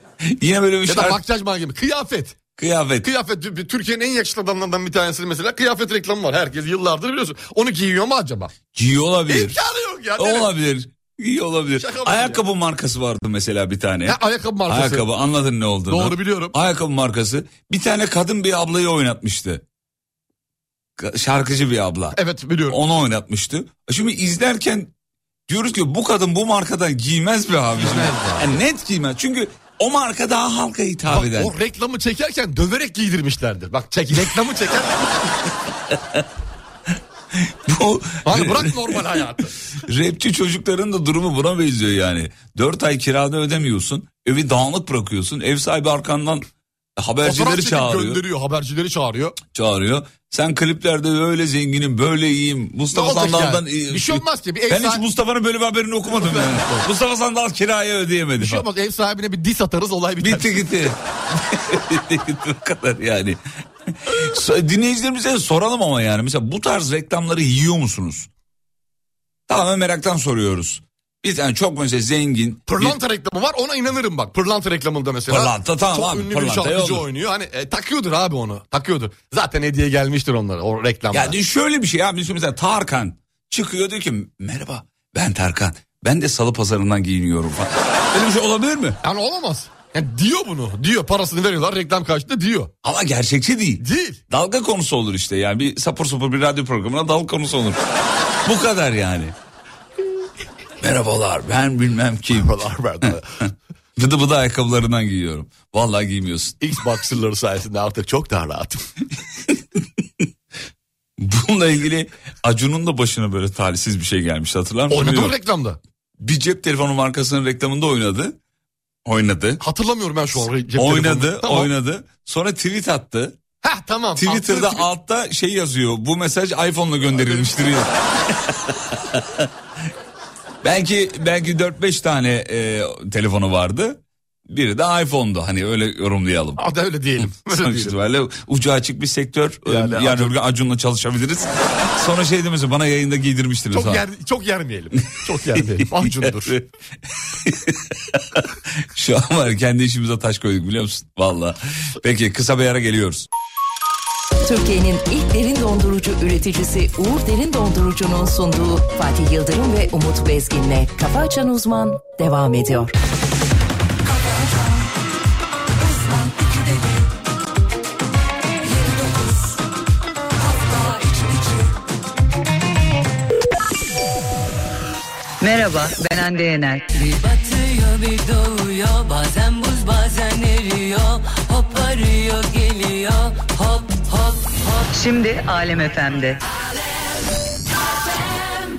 D: Yine böyle bir
C: Ya da
D: şarkı,
C: makyaj malzemesi. Kıyafet.
D: kıyafet.
C: Kıyafet bir- Türkiye'nin en yakışıklı adamlarından bir tanesi mesela kıyafet reklamı var. Herkes yıllardır biliyorsun. Onu giyiyor mu acaba?
D: Giyiyor olabilir.
C: İmkanı yok ya. Nereye-
D: Olabilir. İyi olabilir.
C: Şaka mı ya?
D: Ayakkabı markası vardı mesela bir tane.
C: Ha, ayakkabı markası.
D: Ayakkabı anladın ne olduğunu.
C: Doğru biliyorum.
D: Ayakkabı markası. Bir tane kadın bir ablayı oynatmıştı. Ka- Şarkıcı bir abla.
C: Evet biliyorum.
D: Onu oynatmıştı. Şimdi izlerken diyoruz ki bu kadın bu markadan giymez mi abi? Şimdi? Yani net giymez. Çünkü o marka daha halka hitap
C: Bak,
D: eden.
C: o reklamı çekerken döverek giydirmişlerdir. Bak çek reklamı çeker.
D: Bu
C: Abi bırak normal hayatı.
D: Rapçi çocukların da durumu buna benziyor yani. Dört ay kirada ödemiyorsun. Evi dağınık bırakıyorsun. Ev sahibi arkandan
C: Fotoğraf
D: habercileri
C: çekip
D: çağırıyor.
C: gönderiyor. Habercileri çağırıyor.
D: çağırıyor. Sen kliplerde böyle zenginim, böyle iyiyim.
C: Ne
D: Mustafa
C: olacak
D: Sandal'dan...
C: yani? Bir şey olmaz ki, bir ev
D: ben hiç
C: sahibi-
D: Mustafa'nın böyle bir haberini okumadım yani. Mustafa Sandal kiraya ödeyemedi.
C: Bir şey
D: falan.
C: olmaz. Ev sahibine bir dis atarız olay biter.
D: Bitti gitti. Bitti gitti bu kadar yani. So- Dinleyicilerimize de soralım ama yani. Mesela bu tarz reklamları yiyor musunuz? Tamamen meraktan soruyoruz. Bir tane çok mesela zengin.
C: Pırlanta reklamı var ona inanırım bak. Pırlanta reklamında mesela.
D: Pırlanta, tamam
C: Çok
D: abi,
C: ünlü bir
D: pırlanta,
C: şarkıcı
D: olur.
C: oynuyor. Hani e, takıyordur abi onu. Takıyordur. Zaten hediye gelmiştir onlara o reklamda.
D: Ya yani şöyle bir şey abi. Şimdi Mesela Tarkan çıkıyor diyor ki merhaba ben Tarkan. Ben de salı pazarından giyiniyorum falan. Öyle bir şey olabilir mi?
C: Yani olamaz. Yani diyor bunu. Diyor parasını veriyorlar reklam karşılığında diyor.
D: Ama gerçekçi değil.
C: Değil.
D: Dalga konusu olur işte yani bir sapır sapır bir radyo programına dalga konusu olur. Bu kadar yani. Merhabalar ben bilmem kim.
C: Paralar verdi.
D: Bıdı bıdı ayakkabılarından giyiyorum. Vallahi giymiyorsun.
C: Xboxer'ları sayesinde artık çok daha rahatım.
D: Bununla ilgili Acun'un da başına böyle talihsiz bir şey gelmişti hatırlar mısın?
C: Oynadı mı
D: Bilmiyorum.
C: reklamda?
D: Bir cep telefonu markasının reklamında oynadı. Oynadı.
C: Hatırlamıyorum ben şu an. cep telefonunu.
D: Oynadı,
C: Tamam.
D: oynadı. Sonra tweet attı.
C: Heh tamam.
D: Twitter'da
C: Aklına-
D: altta şey yazıyor. Bu mesaj iPhone'la gönderilmiştir. ya. belki belki 4-5 tane e, telefonu vardı. Biri de iPhone'du. Hani öyle yorumlayalım.
C: Hadi öyle diyelim. Öyle
D: Sonuç
C: diyelim.
D: itibariyle ucu açık bir sektör. E,
C: Yani
D: Yani,
C: Acun-
D: öyle Acun'la çalışabiliriz. Sonra şey demesin bana yayında giydirmiştiniz.
C: Çok
D: ha.
C: yer, çok yermeyelim. Çok yermeyelim. Acundur.
D: Şu an var ya, kendi işimize taş koyduk biliyor musun? Valla. Peki kısa bir ara geliyoruz.
F: Türkiye'nin ilk derin dondurucu üreticisi Uğur Derin Dondurucu'nun sunduğu Fatih Yıldırım ve Umut Bezgin'le Kafa Açan Uzman devam ediyor.
I: Merhaba ben Hande Yener.
J: Bir batıyor bir doğuyor Bazen buz bazen eriyor Hop arıyor geliyor Hop hop hop
I: Şimdi Alem FM'de.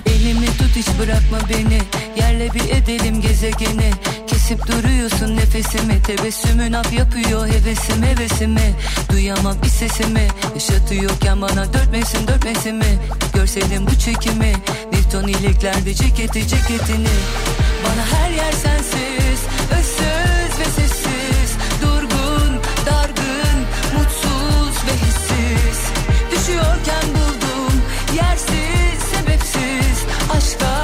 J: Elimi tut hiç bırakma beni Yerle bir edelim gezegeni Kesip duruyorsun nefesimi Tebessümün af yapıyor hevesim hevesimi Duyamam bir sesimi Yaşatıyorken bana dört mevsim dört mevsimi Görseydin bu çekimi Newton iliklerde ceketi ceketini Bana her yer sensiz Özsüz ve sessiz Durgun, dargın, mutsuz ve hissiz Düşüyorken buldum yersiz sebepsiz Aşka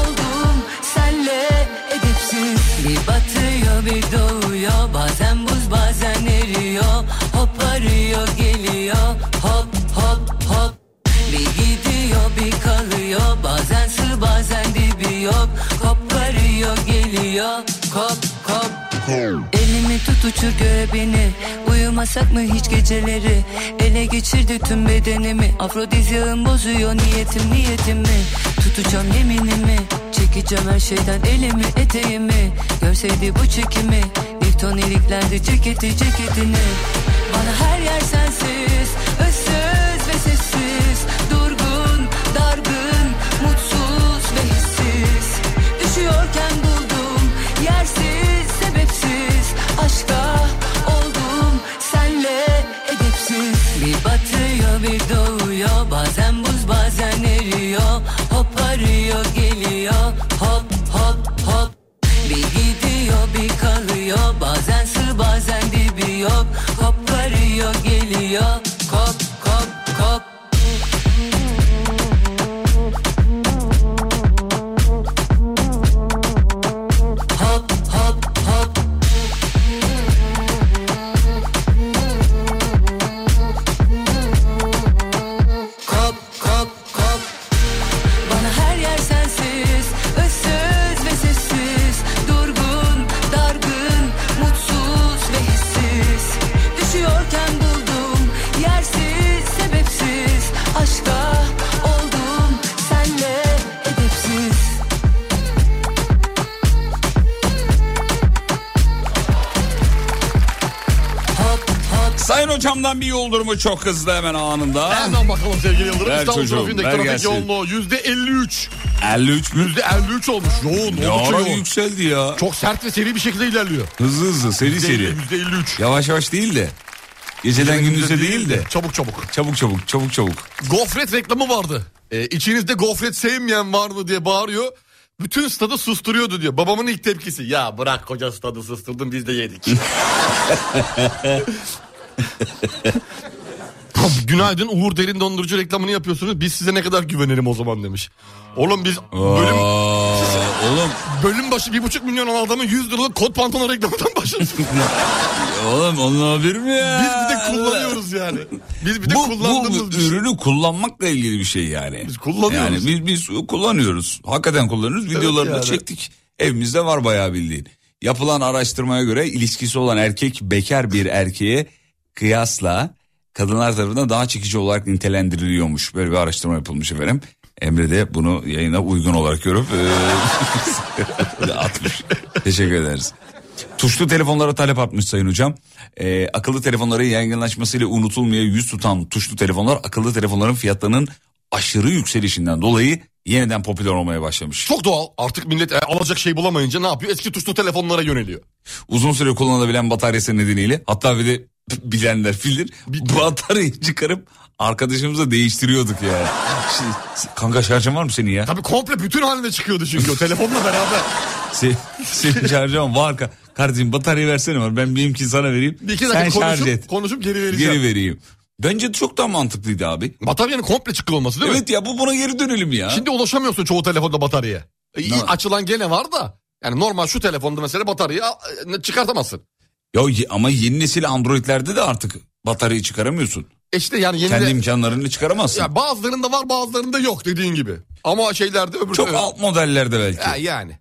J: oldum senle edepsiz Bir batıyor bir doğuyor bazen buz bazen eriyor Hop arıyor geliyor hop hop hop bir gidiyor bir kalıyor Bazen sığ bazen dibi yok Koparıyor geliyor hop hop Elimi tut uçur göğe beni Uyumasak mı hiç geceleri Ele geçirdi tüm bedenimi Afrodizyağım bozuyor niyetim niyetimi Tutacağım yeminimi Çekeceğim her şeyden elimi eteğimi Görseydi bu çekimi Newton iliklerdi ceketi ceketini Bana her yer sensiz Özsüz ve sessiz Durgun, dargın, mutsuz ve hissiz Düşüyorken buldum yersiz sebepsiz aşka oldum senle edepsiz bir batıyor bir doğuyor bazen buz bazen eriyor hoparıyor geliyor hop hop hop bir gidiyor bir kalıyor bazen sığ bazen dibi yok hoparıyor geliyor kop kop kop hop hop hop Kop kop kop Bana her yer sensiz Özsüz ve sessiz Durgun, dargın Mutsuz ve hissiz Düşüyorken buldum Yersiz, sebepsiz Aşka oldum Senle edepsiz
D: Sayın hocamdan bir yol durumu çok hızlı hemen anında.
C: Hemen bakalım sevgili Yıldırım.
D: Ver
C: İstanbul
D: çocuğum,
C: trafiğindeki
D: ver
C: trafik
D: gelsin.
C: yoğunluğu yüzde 53.
D: 53 mü?
C: Yüzde 53 olmuş. Yoğun.
D: Ne
C: oldukça
D: ara
C: yoğun.
D: yükseldi ya.
C: Çok sert ve seri bir şekilde ilerliyor.
D: Hızlı hızlı seri seri.
C: Yüzde 53.
D: Yavaş yavaş değil de. Geceden gündüze değil de.
C: Çabuk çabuk.
D: Çabuk çabuk çabuk çabuk.
C: Gofret reklamı vardı. E, içinizde gofret sevmeyen var mı diye bağırıyor. Bütün stadı susturuyordu diyor. Babamın ilk tepkisi. Ya bırak koca stadı susturdun biz de yedik. Tabii, Günaydın Uğur Derin Dondurucu reklamını yapıyorsunuz. Biz size ne kadar güvenelim o zaman demiş. Oğlum biz bölüm,
D: Aa, oğlum
C: bölüm başı bir buçuk milyon olan adamın 100 liralık kot pantolon reklamından başladık.
D: oğlum onun haberi mi ya?
C: Biz bir de kullanıyoruz yani. Biz bir de
D: Bu,
C: kullandığımız
D: bu
C: bir şey.
D: ürünü kullanmakla ilgili bir şey yani.
C: Biz kullanıyoruz.
D: Yani biz, biz kullanıyoruz. Hakikaten kullanıyoruz. Videolarını da
C: yani.
D: çektik. Evimizde var bayağı bildiğin. Yapılan araştırmaya göre ilişkisi olan erkek bekar bir erkeğe kıyasla kadınlar tarafından daha çekici olarak nitelendiriliyormuş. Böyle bir araştırma yapılmış efendim. Emre de bunu yayına uygun olarak görüp e, eee, atmış. Teşekkür ederiz. Tuşlu telefonlara talep atmış sayın hocam. Ee, akıllı telefonların yaygınlaşmasıyla unutulmaya yüz tutan tuşlu telefonlar akıllı telefonların fiyatlarının aşırı yükselişinden dolayı yeniden popüler olmaya başlamış.
C: Çok doğal. Artık millet e, alacak şey bulamayınca ne yapıyor? Eski tuşlu telefonlara yöneliyor.
D: Uzun süre kullanılabilen bataryası nedeniyle hatta bir de bilenler bilir bataryayı çıkarıp arkadaşımıza değiştiriyorduk yani. Şimdi, kanka şarjın var mı senin ya?
C: Tabii komple bütün halinde çıkıyordu çünkü o telefonla beraber.
D: Se, senin şarjın var. Ka- Kardeşim bataryayı versene var. Ben benimkini sana vereyim.
C: Bir iki
D: Sen
C: dakika
D: şarj
C: konuşup,
D: et.
C: konuşup geri vereceğim.
D: Geri vereyim. Bence çok daha mantıklıydı abi.
C: Bataryanın komple çıkık olması değil mi?
D: Evet ya bu buna geri dönelim ya.
C: Şimdi ulaşamıyorsun çoğu telefonda bataryaya. E, iyi,
D: Ne?
C: açılan gene var da. Yani normal şu telefonda mesela bataryayı a- e, çıkartamazsın.
D: Ya ye- ama yeni nesil Android'lerde de artık bataryayı çıkaramıyorsun.
C: E işte yani yeni
D: Kendi
C: de-
D: imkanlarını çıkaramazsın.
C: ya bazılarında var bazılarında yok dediğin gibi. Ama şeylerde öbür
D: Çok
C: ö-
D: alt modellerde belki.
C: Ya yani.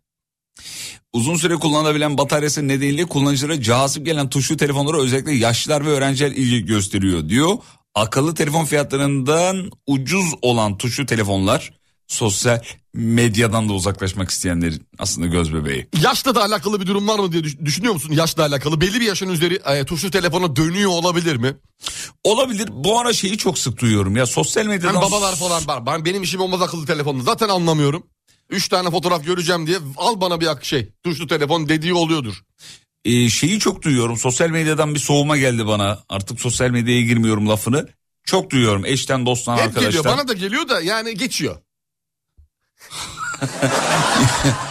D: Uzun süre kullanılabilen bataryası nedeniyle kullanıcılara cazip gelen tuşlu telefonlara özellikle yaşlılar ve öğrenciler ilgi gösteriyor diyor. Akıllı telefon fiyatlarından ucuz olan tuşlu telefonlar sosyal medyadan da uzaklaşmak isteyenlerin aslında göz bebeği.
C: Yaşla da alakalı bir durum var mı diye düş- düşünüyor musun? Yaşla alakalı belli bir yaşın üzeri e, tuşlu telefona dönüyor olabilir mi?
D: Olabilir bu ara şeyi çok sık duyuyorum ya sosyal medyadan...
C: Hem babalar falan var. Ben benim işim olmaz akıllı telefonla. Zaten anlamıyorum. Üç tane fotoğraf göreceğim diye al bana bir ak- şey tuşlu telefon dediği oluyordur.
D: Ee, şeyi çok duyuyorum. Sosyal medyadan bir soğuma geldi bana. Artık sosyal medyaya girmiyorum lafını. Çok duyuyorum eşten dosttan
C: Hep
D: arkadaştan.
C: geliyor bana da geliyor da yani geçiyor.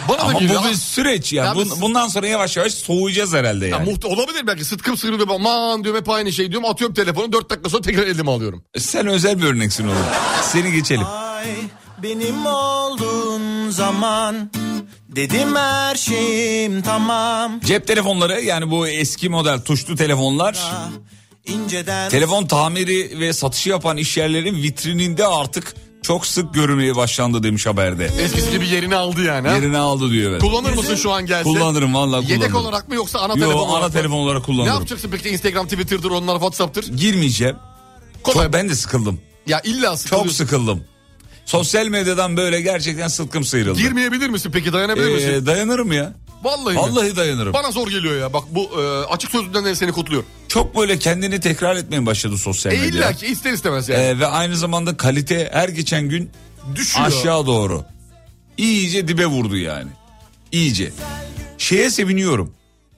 C: bana da
D: Ama
C: geliyor.
D: bu bir süreç ya.
C: Ya
D: Bun-
C: biz-
D: bundan sonra yavaş yavaş soğuyacağız herhalde
C: Ya
D: yani.
C: muht- olabilir belki sıtkım sıyrılıyor. Aman diyorum hep aynı şey diyorum. Atıyorum telefonu dört dakika sonra tekrar elime alıyorum.
D: Sen özel bir örneksin oğlum. Seni geçelim.
K: Ay benim olduğun zaman dedim her şeyim tamam.
D: Cep telefonları yani bu eski model tuşlu telefonlar
K: İnceden
D: telefon tamiri ve satışı yapan iş yerlerinin vitrininde artık Çok sık görülmeye başlandı demiş haberde.
C: Eskisi gibi yerini aldı yani. ha?
D: Yerini aldı diyor evet.
C: Kullanır mısın şu an gelse?
D: Kullanırım vallahi kullanırım.
C: Yedek olarak mı yoksa ana
D: Yo,
C: telefon olarak
D: ana
C: mı?
D: telefon olarak
C: Ne
D: kullanırım.
C: yapacaksın peki Instagram, Twitter'dır onlar Whatsapp'tır?
D: Girmeyeceğim.
C: Kolay.
D: Çok, ben de sıkıldım.
C: Ya illa
D: Çok
C: sıkılıyorsun.
D: sıkıldım. Sosyal medyadan böyle gerçekten sıtkım sıyrıldı.
C: Girmeyebilir misin peki dayanabilir
D: Ee,
C: misin?
D: dayanırım ya.
C: Vallahi, mi?
D: Vallahi dayanırım.
C: Bana zor geliyor ya bak bu e, açık sözlüden de seni kutluyorum.
D: Çok böyle kendini tekrar etmeye başladı sosyal
C: E
D: medya.
C: illa ki ister istemez yani.
D: Ee, ve aynı zamanda kalite her geçen gün
C: Düşüyor.
D: aşağı doğru. İyice dibe vurdu yani. İyice. Şeye seviniyorum.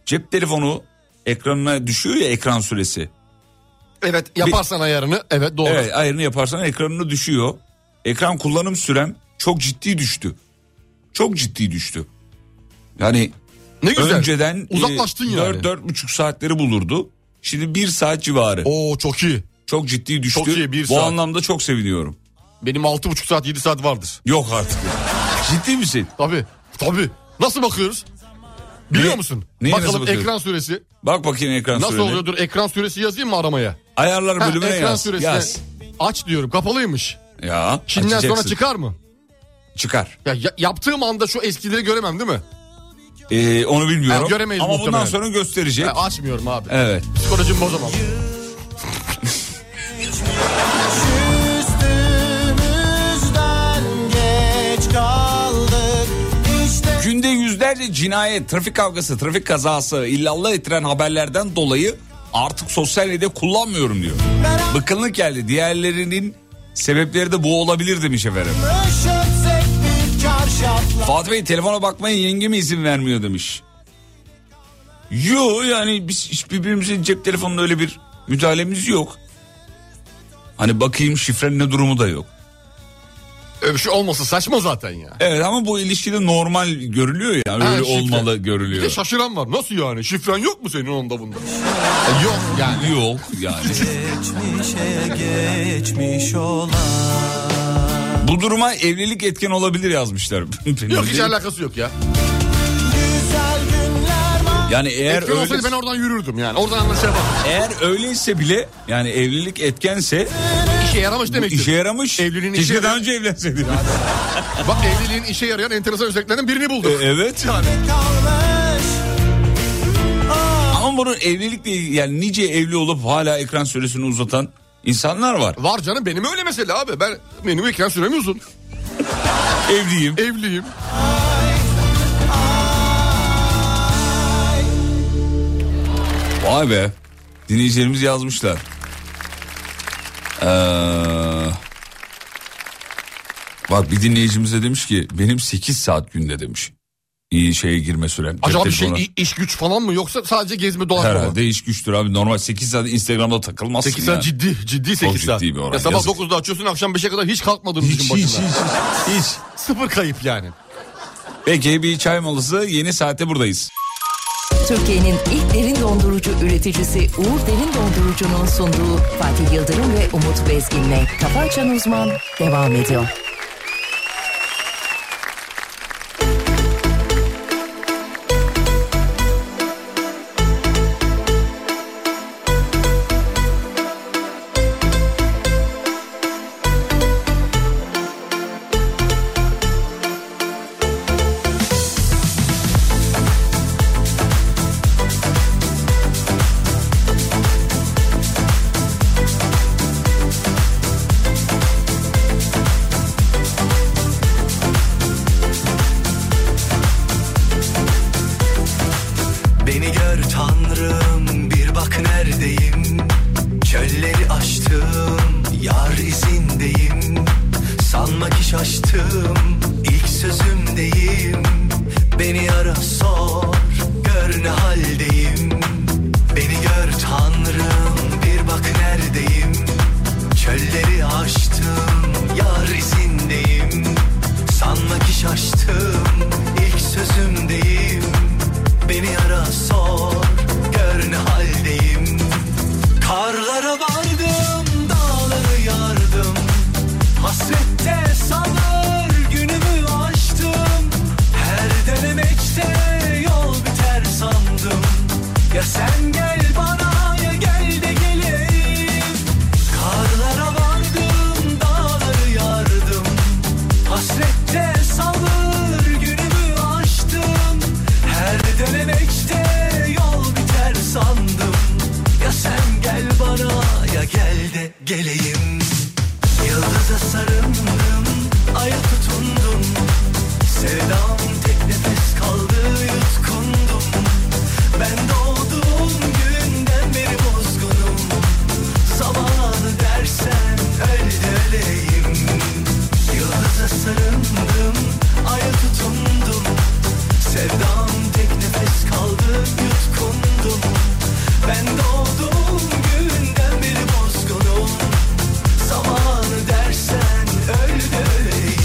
D: Cep telefonu ekranına düşüyor ya ekran süresi.
C: Evet yaparsan ayarını evet doğru.
D: Evet ayarını yaparsan ekranını düşüyor. Ekran kullanım sürem çok ciddi düştü. Çok ciddi düştü. Yani
C: Ne güzel.
D: önceden e,
C: Uzaklaştın yani.
D: 4 4,5 saatleri bulurdu. Şimdi 1 saat civarı.
C: Oo çok iyi.
D: Çok ciddi düştü.
C: Çok iyi, bir
D: Bu
C: saat.
D: anlamda çok seviniyorum.
C: Benim 6,5 saat 7 saat vardır.
D: Yok artık. Ciddi misin?
C: Tabii tabii. Nasıl bakıyoruz? Biliyor
D: Ne-
C: musun?
D: neye nasıl
C: Bakalım
D: bakıyoruz?
C: ekran süresi.
D: Bak bakayım ekran
C: Nasıl
D: süreni.
C: oluyordur? Ekran süresi yazayım mı aramaya?
D: Ayarlar
C: Ha,
D: bölümüne
C: ekran
D: yaz.
C: süresi.
D: Yaz.
C: Aç diyorum kapalıymış.
D: Ya.
C: Çin'den sonra
D: açacaksın.
C: çıkar mı?
D: Çıkar.
C: Ya, ya- yaptığım anda şu eskileri göremem değil mi?
D: Ee, onu bilmiyorum.
C: Ha, göremeyiz
D: Ama
C: muhtemelen.
D: bundan sonra gösterecek.
C: Ya açmıyorum abi.
D: Evet.
C: Psikolojimi bozamam.
E: Üstümüzden geç kaldık işte
D: Günde yüzlerce cinayet, trafik kavgası, trafik kazası, illallah ettiren haberlerden dolayı artık sosyal medya kullanmıyorum diyor. Bıkkınlık geldi. Diğerlerinin sebepleri de bu olabilir demiş efendim.
E: öşötsek bir çarşafla
D: Fatih Bey telefona bakmaya yenge mi izin vermiyor demiş. Yo yani biz hiç birbirimizin cep telefonuna öyle bir müdahalemiz yok. Hani bakayım şifrenin ne durumu da yok.
C: Öyle bir şey olmasa saçma zaten ya.
D: Evet ama bu ilişkide normal görülüyor ya. Öyle
C: Ha, şifre.
D: olmalı
C: Bir de
D: görülüyor.
C: şaşıran var. Nasıl yani? Şifren yok mu senin onda bunda? E, yok yani.
D: Yok yani.
E: Geçmişe geçmiş olan
D: bu duruma evlilik etken olabilir yazmışlar. Benim
C: Yok hiç
D: değil.
C: alakası yok ya.
E: Güzel günler var
D: yani eğer
C: Etken olsaydı
D: öyle,
C: ben oradan yürürdüm yani. Oradan anlaşılır bak.
D: eğer öyleyse bile yani evlilik etkense
C: İşe yaramış demektir.
D: işe yaramış.
C: Evliliğin işe
D: Keşke daha
C: yarayan-
D: önce evlenseydim.
C: Bak evliliğin işe yarayan enteresan özelliklerinden birini bulduk.
D: E- evet.
E: kalmış
D: Ama bunun evlilikle ilgili yani nice evli olup hala ekran süresini uzatan insanlar var.
C: Var canım benim öyle mesela abi. Ben benim ekran sürem uzun.
D: Evliyim.
C: Evliyim.
D: Vay be. Dinleyicilerimiz yazmışlar. Ee, bak bir dinleyicimiz de demiş ki benim 8 saat günde demiş. İyi şeye girme süren. cep
C: Acaba bir şey
D: telefonu.
C: i- iş güç falan mı yoksa sadece gezme dolaşma mı?
D: Herhalde iş güçtür abi. Normal 8 saat Instagram'da takılmazsın
C: 8
D: ya.
C: saat ciddi, ciddi 8 saat.
D: ciddi bir oran,
C: Ya sabah
D: yazık.
C: 9'da açıyorsun akşam 5'e kadar hiç kalkmadığın
D: Hiç,
C: gün
D: hiç, hiç,
C: başında.
D: hiç, hiç.
C: Sıfır kayıp yani.
D: Peki bir çay molası yeni saatte buradayız.
F: Türkiye'nin ilk derin dondurucu üreticisi Uğur Derin Dondurucu'nun sunduğu Fatih Yıldırım ve Umut Bezgin'le Kafa Açan Uzman devam ediyor.
E: geleyim Yıldıza sarıldım, aya tutundum Sevdam tek nefes kaldı, yutkundum Ben doğduğum günden beri bozgunum Zamanı dersen öyle de öleyim Yıldıza sarıldım, aya tutundum Sevdam tek nefes kaldı, yutkundum Ben doğduğum günden beri bozgunum Zamanı dersen öyle de öleyim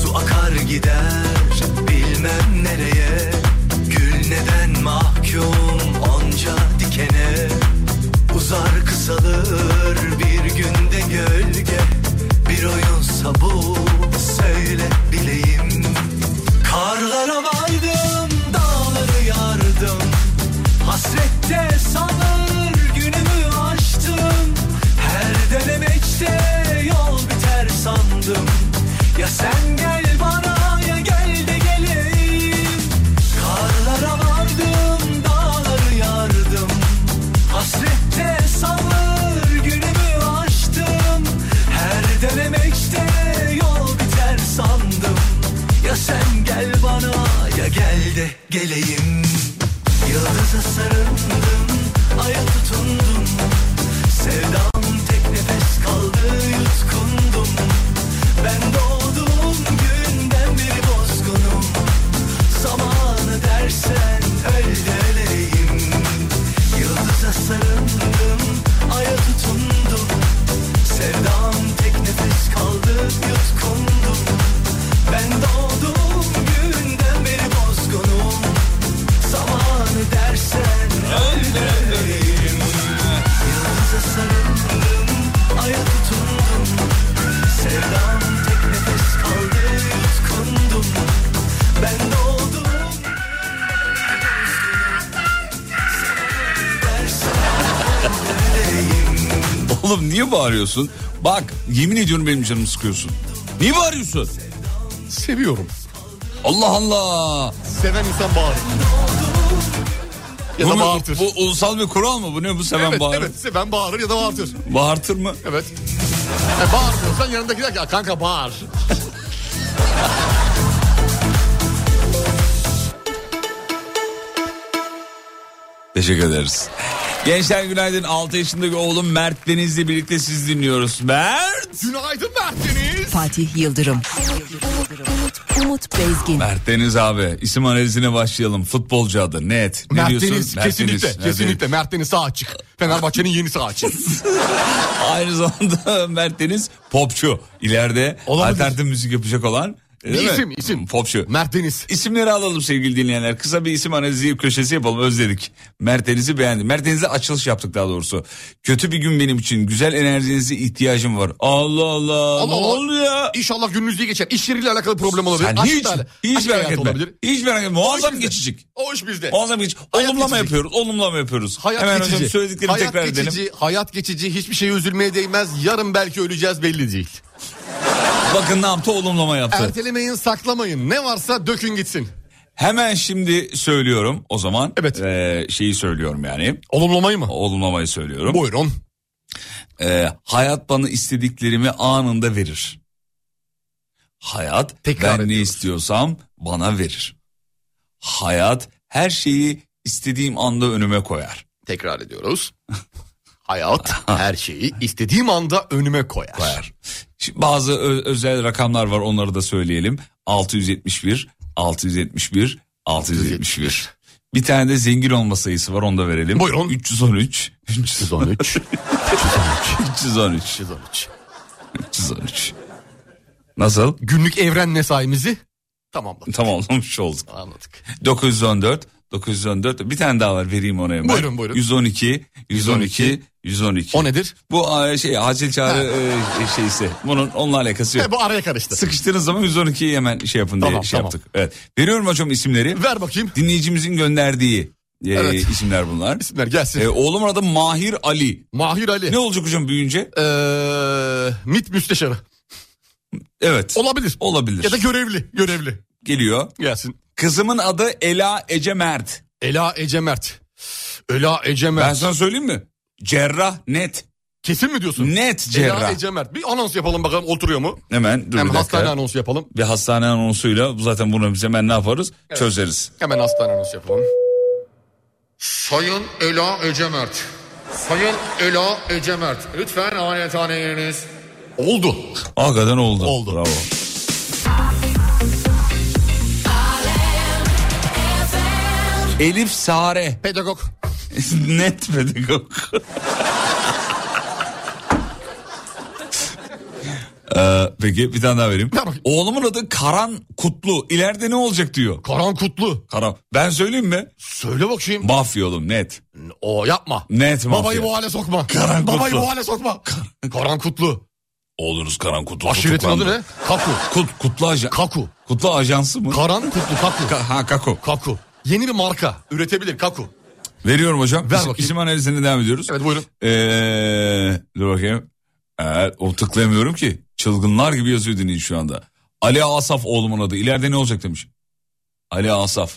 E: Su akar gider bilmem nereye Gül neden mahkum onca dikene Uzar kısalır bir günde gölge Bir oyunsa bu söyle bileyim Karlara vardım dağları yardım Hasrette sanır günümü açtım Her dönemeçte yol biter sandım Ya sen gel bana ya gel de geleyim Karlara vardım dağları yardım Hasrette sanır günümü açtım Her dönemeçte yol biter sandım Ya sen gel bana ya gel de geleyim Yıldıza sarıldım, aya tutundum Sevdam tek nefes kaldı, yutkundum Ben doğduğum günden beri bozgunum Zamanı dersen öyle de öleyim Yıldıza sarıldım, aya tutundum Sevdam tek nefes kaldı, yutkundum Ben doğduğum günden beri bozgunum Zamanı dersen öyle de öleyim Yıldıza sarıldım, aya tutundum Sevdam tek nefes kaldı, yutkundum Ben doğduğum
D: Oğlum niye bağırıyorsun? Bak yemin ediyorum benim canımı sıkıyorsun. Niye bağırıyorsun?
C: Seviyorum.
D: Allah Allah.
C: Seven insan bağırır. Ya
D: bu,
C: da
D: mu-
C: bağırtır.
D: bu ulusal bir kural mı? Bu ne bu seven
C: evet,
D: bağırır?
C: evet seven bağırır ya da bağırtır.
D: Bağırtır mı?
C: Evet. E, bağırmıyorsan yanındaki der ki "Ya kanka bağır.
D: Teşekkür ederiz. Gençler günaydın. 6 yaşındaki oğlum Mert Deniz'le birlikte siz dinliyoruz. Mert!
C: Günaydın Mert Deniz.
F: Fatih Yıldırım. Umut, Umut Bezgin.
D: Mert Deniz abi. isim analizine başlayalım. Futbolcu adı net. Ne
C: Mert
D: diyorsun?
C: Deniz
D: Mert
C: kesinlikle
D: Deniz, Mert
C: kesinlikle
D: Deniz.
C: Mert Deniz sağ açık. Fenerbahçe'nin yeni sağ açık.
D: Aynı zamanda Mert Deniz popçu. İleride
C: Olabilir.
D: alternatif müzik yapacak olan. e, değil mi? Hmm,
C: isim isim.
D: Popçu.
C: Mert Deniz.
D: İsimleri alalım sevgili dinleyenler. Kısa bir isim analizi köşesi yapalım özledik. Mert Deniz'i beğendim. Mert Deniz'e açılış yaptık daha doğrusu. Kötü bir gün benim için. Güzel enerjinize ihtiyacım var. Allah Allah. ne
C: Allah.
D: oldu ya?
C: İnşallah gününüz iyi geçer. İş yeriyle alakalı problem olabilir.
D: Sen
C: Aşkla
D: hiç,
C: ala-
D: hiç
C: aşk
D: merak
C: hayatı
D: etme.
C: olabilir.
D: Hiç merak etme.
C: O iş
D: Muazzam
C: bizde.
D: geçecek.
C: O iş bizde.
D: Muazzam geçecek.
C: Hayat
D: Olumlama
C: geçecek.
D: yapıyoruz. Olumlama yapıyoruz.
C: Hayat
D: Hemen
C: geçici.
D: hocam söylediklerimi
C: hayat
D: tekrar
C: geçici,
D: edelim.
C: Hayat geçici. Hiçbir şeye üzülmeye değmez. Yarın belki öleceğiz belli değil.
D: Bakın ne yaptı? Olumlama yaptı.
C: Ertelemeyin, saklamayın. Ne varsa dökün gitsin.
D: Hemen şimdi söylüyorum o zaman.
C: Evet.
D: Ee, şeyi söylüyorum yani.
C: Olumlamayı mı?
D: Olumlamayı söylüyorum.
C: Buyurun.
D: Ee, hayat bana istediklerimi anında verir. Hayat
C: Tekrar
D: ben ne
C: ediyoruz.
D: istiyorsam bana verir. Hayat her şeyi istediğim anda önüme koyar.
C: Tekrar ediyoruz. Hayat her şeyi istediğim anda önüme koyar.
D: koyar. Şimdi bazı ö- özel rakamlar var onları da söyleyelim. 671, 671, 671. Bir tane de zengin olma sayısı var onu da verelim.
C: Buyurun.
D: 313,
C: 313.
D: 313,
C: 313.
D: 313. Nasıl?
C: Günlük evren nesaimizi tamamladık.
D: Tamamlamış olduk.
C: Anladık.
D: 914 914 bir tane daha var vereyim ona hemen.
C: Buyurun, buyurun.
D: 112 112 112.
C: O nedir?
D: Bu e, şey acil çağrı e, şeysi. Bunun onunla alakası yok.
C: E, bu araya karıştı.
D: Sıkıştığınız zaman 112'yi hemen şey yapın diye
C: Tamam,
D: şey
C: tamam.
D: yaptık. Evet. Veriyorum hocam isimleri.
C: Ver bakayım.
D: Dinleyicimizin gönderdiği e,
C: Evet.
D: isimler bunlar.
C: İsimler gelsin.
D: E, oğlumun adı Mahir Ali.
C: Mahir Ali.
D: Ne olacak hocam büyüyünce?
C: Ee, MİT müsteşarı.
D: Evet.
C: Olabilir.
D: Olabilir.
C: Ya da görevli. Görevli.
D: Geliyor.
C: Gelsin.
D: Kızımın adı Ela Ece Mert.
C: Ela Ecemert. Ela Ecemert.
D: Ben sana söyleyeyim mi? Cerrah net.
C: Kesin mi diyorsun?
D: Net
C: Ela
D: cerrah.
C: Ecemert. Bir anons yapalım bakalım oturuyor mu?
D: Hemen dur
C: E, Hem
D: bir dakika.
C: hastane anonsu yapalım.
D: Bir hastane anonsuyla zaten bunu biz hemen ne yaparız? Çözeriz.
C: Hemen hastane anonsu yapalım.
L: Sayın Ela Ecemert. Sayın Ela Ecemert. Lütfen ameliyathane yeriniz.
C: Oldu.
D: Hakikaten oldu.
C: Oldu.
D: Bravo. Elif Sare.
C: Pedagog.
D: Net pedagog. Ee, peki bir tane daha vereyim.
C: Ver bakayım.
D: Oğlumun adı Karan Kutlu. İleride ne olacak diyor.
C: Karan Kutlu.
D: Karan. Ben söyleyeyim mi?
C: Söyle bakayım.
D: Mafya oğlum net.
C: O yapma.
D: Net mafya.
C: Babayı bu hale sokma.
D: Karan
C: Babayı
D: Kutlu.
C: bu hale sokma. Karan Kutlu.
D: Oğlunuz Karan Kutlu.
C: Aşiretin adı
D: tutuklandı.
C: ne? Kaku.
D: Kut, kutlu ajan.
C: Kaku.
D: Kutlu ajansı mı?
C: Karan Kutlu Kaku.
D: Ka- ha kako.
C: Kaku. Yeni bir marka. Üretebilir Kaku.
D: Veriyorum hocam.
C: Ver
D: İsim-
C: bakayım.
D: İsim analizine devam ediyoruz.
C: Evet buyurun.
D: Ee, dur bakayım. Evet, o tıklayamıyorum ki. Çılgınlar gibi yazıyor dinleyin şu anda. Ali Asaf oğlumun adı. İleride ne olacak demiş. Ali Asaf.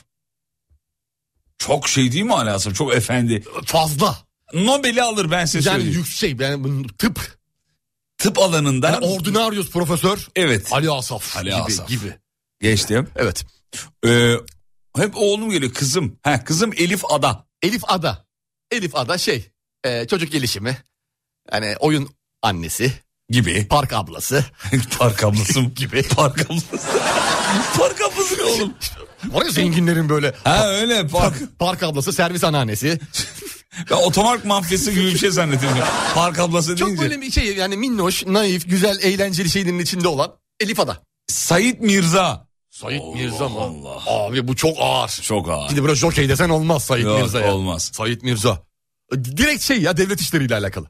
D: Çok şey değil mi Ali Asaf? Çok efendi.
C: Fazla.
D: Nobel'i alır ben size
C: Yani
D: söyleyeyim.
C: yüksek. Yani bunun tıp.
D: Tıp alanında.
C: Yani ordinarius profesör.
D: Evet.
C: Ali Asaf
D: Ali
C: gibi,
D: Asaf.
C: gibi.
D: Geçtim.
C: Evet.
D: Ee, hep oğlum geliyor kızım. Ha kızım Elif Ada.
C: Elif Ada. Elif Ada şey e, çocuk gelişimi. Yani oyun annesi,
D: Gibi.
C: park ablası
D: Park ablası mı?
C: gibi.
D: Park ablası. Park ablası ne oğlum?
C: Var ya zenginlerin böyle
D: Ha öyle park.
C: park ablası, servis anneannesi.
D: Ben otomark mafyası gibi bir şey zannettim. Park ablası
C: Çok
D: deyince.
C: böyle bir şey yani minnoş, naif, güzel, eğlenceli şeylerin içinde olan Elif Ada.
D: Sait Mirza.
C: Sayit
D: Allah
C: Mirza mı?
D: Allah.
C: Abi bu çok ağır.
D: Çok ağır.
C: Şimdi böyle jokey desen olmaz Sayit
D: Yok,
C: Mirza ya.
D: olmaz.
C: Sayit Mirza. Direkt şey ya devlet işleriyle alakalı.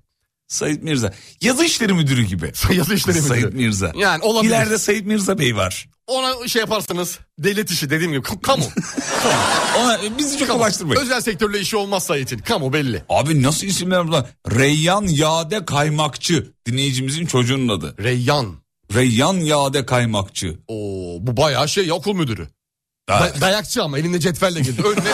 D: Sait Mirza. Yazı işleri müdürü gibi.
C: Yazı işleri müdürü.
D: Sait Mirza.
C: Yani olabilir.
D: İleride Sait Mirza Bey var.
C: Ona şey yaparsanız devlet işi dediğim gibi k- kamu.
D: Ona bizi çok
C: Kamu.
D: ulaştırmayın.
C: Özel sektörle işi olmaz Sait'in. Kamu belli.
D: Abi nasıl isimler bunlar? Reyyan Yade Kaymakçı. Dinleyicimizin çocuğunun adı.
C: Reyyan.
D: Reyyan Yade Kaymakçı.
C: Oo, bu bayağı şey ya okul müdürü.
D: Ha,
C: Da- dayakçı ama elinde cetvelle geldi. Önüne.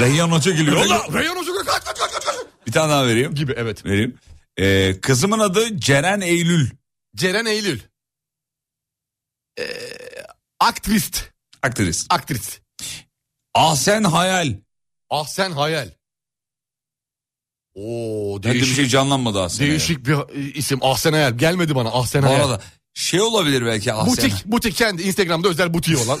D: Reyyan Hoca geliyor.
C: Reyyan, Reyyan Hoca kaç kaç kaç kaç, kaç.
D: Bir tane daha vereyim.
C: Gibi evet.
D: Vereyim. Ee, kızımın adı Ceren Eylül.
C: Ceren Eylül. Ee, aktrist.
D: Aktrist.
C: Aktrist.
D: Ahsen Hayal.
C: Ahsen Ah, Hayal. Oo
D: Bende bir
C: değişik,
D: şey canlanmadı Ahsen
C: değişik bir e, isim. Ahsen Hayal. Gelmedi bana Ahsen
D: Hayal. Bu
C: Hayal.
D: arada şey olabilir belki Ahsen.
C: Butik, butik kendi Instagram'da özel butiği olan.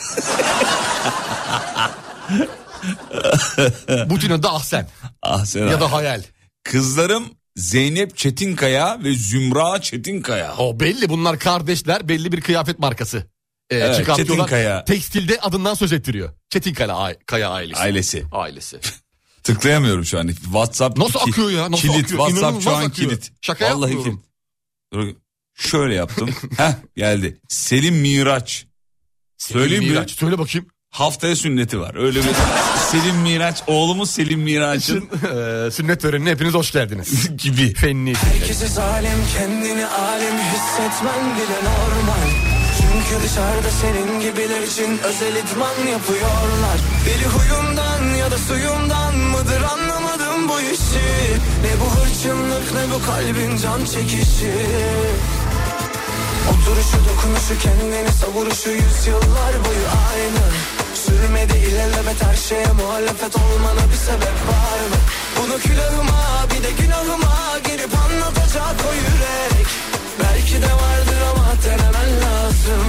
C: Butin adı Ahsen
D: Ahsen
C: ya
D: Hayal.
C: da Hayal.
D: Kızlarım Zeynep Çetinkaya ve Zümra Çetinkaya.
C: O belli bunlar kardeşler belli bir kıyafet markası. Ee,
D: Evet,
C: çıkartıyorlar.
D: Çetinkaya.
C: Tekstilde adından söz ettiriyor. Çetinkaya ai- Kaya ailesi.
D: Ailesi.
C: ailesi.
D: Tıklayamıyorum şu an. WhatsApp
C: Nasıl
D: ki-
C: akıyor ya? Nasıl
D: kilit.
C: akıyor?
D: WhatsApp
C: İnanılmaz
D: şu an
C: akıyor.
D: kilit.
C: Şaka yapmıyorum.
D: kilit. Dur, Şöyle yaptım. Heh geldi. Selim Miraç. Söyleyeyim mi?
C: Miraç, Söyle bakayım.
D: Haftaya sünneti var. Öyle bir Selim Miraç. Oğlumuz Selim Miraç'ın
C: Eee, Ee, sünnet törenine hepiniz hoş geldiniz.
D: gibi.
C: Fenni.
E: Herkesi zalim kendini alim hissetmen bile normal Çünkü dışarıda senin gibiler için özel idman yapıyorlar Deli huyumdan ya da suyumdan mıdır anlamadım bu işi Ne bu hırçınlık ne bu kalbin can çekişi Oturuşu dokunuşu kendini savuruşu yüzyıllar boyu aynı Sürmedi ilelebet her şeye muhalefet olmana bir sebep var mı? Bunu külahıma bir de günahıma girip anlatacak o yürek Belki de vardır ama denemen lazım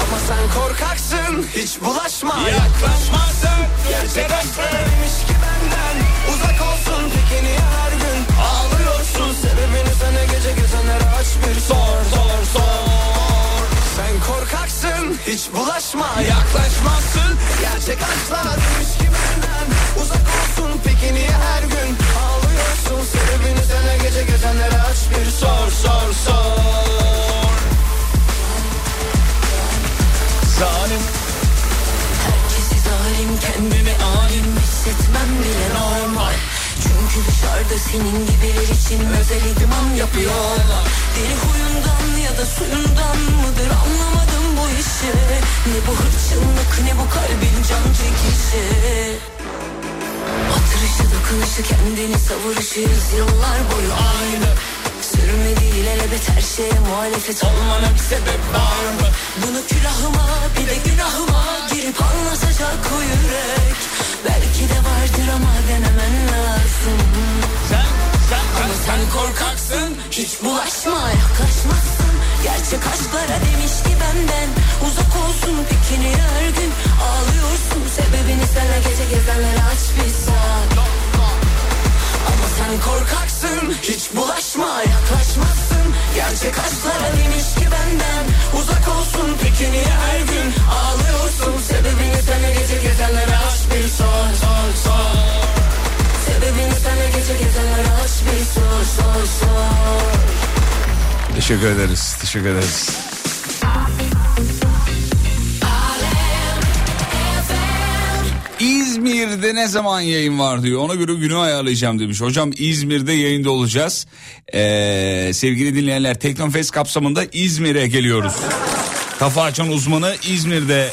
E: Ama sen korkaksın hiç bulaşma Yaklaşmazsın gerçek aşklarmış ki benden Uzak olsun peki niye her gün ağlıyorsun Sebebini sana gece gezenlere aç bir sor sor sor Sen korkaksın hiç bulaşma Yaklaşmazsın gerçek aşklarmış ki benden Uzak olsun peki niye her gün ağlıyorsun Sebebini sana gece gezenlere aç bir sor sor sor Zalim
A: Herkesi zalim kendimi alim
E: bahsetmem bile normal Çünkü dışarıda senin gibiler için özel idman yapıyorlar Deli huyundan ya da suyundan mıdır anlamadım bu işi Ne bu hırçınlık ne bu kalbin can çekişi Batırışı dokunuşu kendini savuruşu yıllar boyu aynı Sürmedi ilelebet her şeye muhalefet olmana bir sebep var mı? Bunu külahıma bir de günahıma girip anlatacak o yürek Belki de vardır ama denemen lazım Ama sen korkaksın hiç bulaşma yaklaşmazsın Gerçek aşklara demişti benden Uzak olsun pikini her gün Ağlıyorsun sebebini senle gece gezenlere aç bir saat ama sen korkaksın Hiç bulaşma yaklaşmazsın Gerçek aşklara demiş ki benden Uzak olsun peki niye her gün Ağlıyorsun sebebini sana gece gezenlere aç bir sor sor sor Sebebini sana gece gezenlere aç bir sor sor sor
D: Teşekkür ederiz. Teşekkür ederiz. İzmir'de ne zaman yayın var diyor. Ona göre günü ayarlayacağım demiş. Hocam İzmir'de yayında olacağız. Ee, sevgili dinleyenler Teknofest kapsamında İzmir'e geliyoruz. Kafa açan uzmanı İzmir'de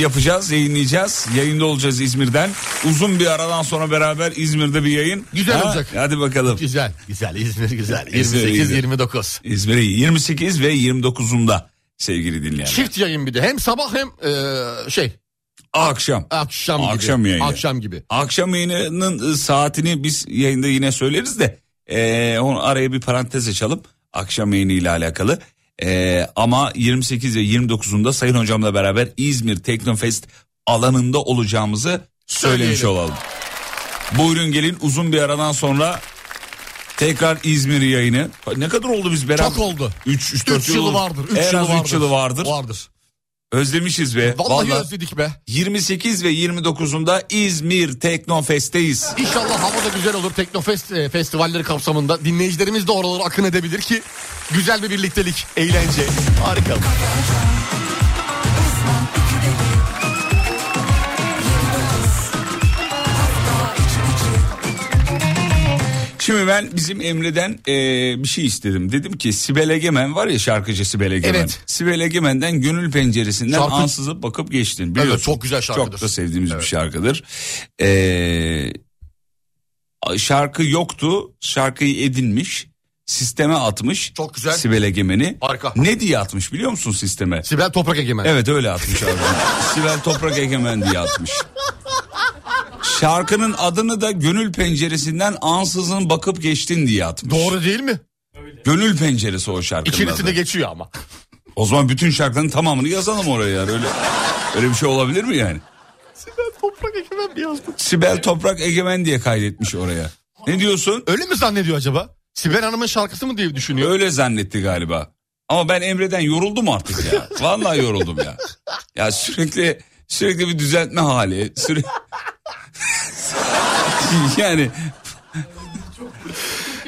D: yapacağız, yayınlayacağız. Yayında olacağız İzmir'den. Uzun bir aradan sonra beraber İzmir'de bir yayın.
C: Güzel olacak.
D: Hadi bakalım.
C: Güzel. Güzel. İzmir güzel.
D: İzmir,
C: 28
D: İzmir.
C: 29.
D: İzmir'e 28 ve 29'unda sevgili dinleyenler.
C: Çift yayın bir de. Hem sabah hem eee, şey
D: Akşam.
C: akşam gibi.
D: Akşam yayını.
C: Akşam gibi.
D: Akşam yayınının e, saatini biz yayında yine söyleriz de e, onu araya bir parantez açalım. Akşam yayını ile alakalı. E, ama 28 ve 29'unda Sayın Hocam'la beraber İzmir Teknofest alanında olacağımızı söylemiş
C: Söyleyelim.
D: olalım. Buyurun gelin uzun bir aradan sonra tekrar İzmir yayını. Ne kadar oldu biz beraber?
C: Çok oldu.
D: 3 3 4
C: 3 yılı vardır. 3
D: en
C: yılı
D: az
C: vardır.
D: 3 yılı vardır.
C: Vardır.
D: Özlemişiz be.
C: Vallahi,
D: Vallahi.
C: özledik be.
D: 28 ve 29'unda İzmir Teknofest'teyiz.
C: İnşallah hava da güzel olur. Teknofest e, festivalleri kapsamında dinleyicilerimiz de oralara akın edebilir ki güzel bir birliktelik, eğlence. Harika.
D: Şimdi ben bizim Emre'den eee, bir şey istedim. Dedim ki Sibel Egemen var ya şarkıcı Sibel Egemen.
C: Evet.
D: Sibel Egemen'den Gönül Penceresi'nden
C: Şarkı-
D: ansızıp bakıp geçtin. Biliyorsun.
C: Evet, çok güzel şarkıdır.
D: Çok da sevdiğimiz
C: Evet.
D: bir şarkıdır. Eee, şarkı yoktu. Şarkıyı edinmiş. Sisteme atmış.
C: Çok güzel.
D: Sibel Egemen'i.
C: Harika.
D: Ne diye atmış biliyor musun sisteme?
C: Sibel Toprak Egemen.
D: Evet öyle atmış abi. Sibel Toprak Egemen diye atmış. Şarkının adını da Gönül Penceresi'nden ansızın bakıp geçtin diye atmış.
C: Doğru değil mi?
D: Gönül Penceresi o şarkının
C: İkincisinde
D: adı.
C: geçiyor ama.
D: O zaman bütün şarkının tamamını yazalım oraya yani. Öyle, öyle bir şey olabilir mi yani?
C: Sibel Toprak Egemen bir yazdı.
D: Sibel Toprak Egemen diye kaydetmiş oraya. Ne diyorsun?
C: Öyle mi zannediyor acaba? Sibel Hanım'ın şarkısı mı diye düşünüyor.
D: Öyle zannetti galiba. Ama ben Emre'den yoruldum artık ya. Vallahi yoruldum ya. Ya sürekli sürekli bir düzeltme hali. Sürekli... yani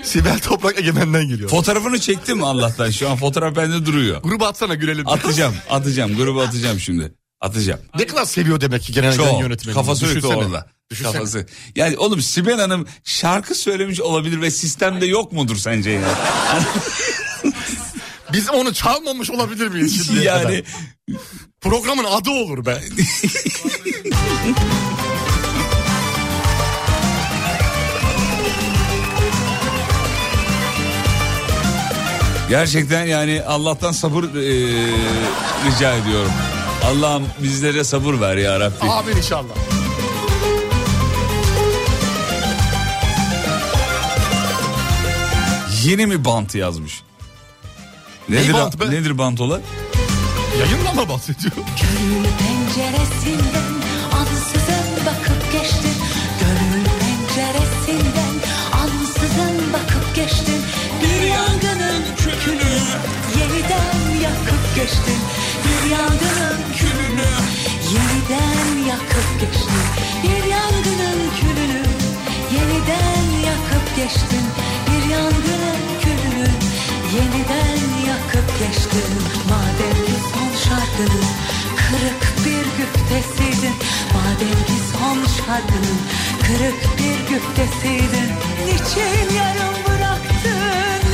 C: Sibel Toprak Egemen'den geliyor.
D: Fotoğrafını çektim Allah'tan. Şu an fotoğraf bende duruyor.
C: Gruba atsana gülelim.
D: Atacağım, atacağım. Gruba atacağım şimdi. Atacağım.
C: Ne kadar seviyor demek ki genel yayın
D: Çok.
C: yönetmeni.
D: Kafası sürekli
C: Düşünsene.
D: orada.
C: Düşünsene.
D: Kafası. Yani oğlum Sibel Hanım şarkı söylemiş olabilir ve sistemde yok mudur sence ya?
C: Biz onu çalmamış olabilir miyiz? şimdiye
D: yani
C: kadar? Programın adı olur be.
D: gerçekten yani Allah'tan sabır eee, rica ediyorum. Allah'ım bizlere sabır ver ya Rabbi.
C: Amin inşallah.
D: Yeni mi bant yazmış? Nedir,
C: bant be?
D: nedir bant olan?
C: Yayınla mı bahsediyor?
B: Gönül penceresinden ansızın bakıp geçtin Gönül penceresinden ansızın bakıp geçtin Bir yangının kökünü yeniden yakıp geçtin Bir yangının külünü yeniden yakıp geçtin Bir yangının külünü yeniden yakıp geçtin Bir yangının külünü yeniden yakıp geçtin Madem ki son şarkının kırık bir güftesiydin Madem ki son şarkının kalbinin kırık bir güftesiydin Niçin yarım bıraktın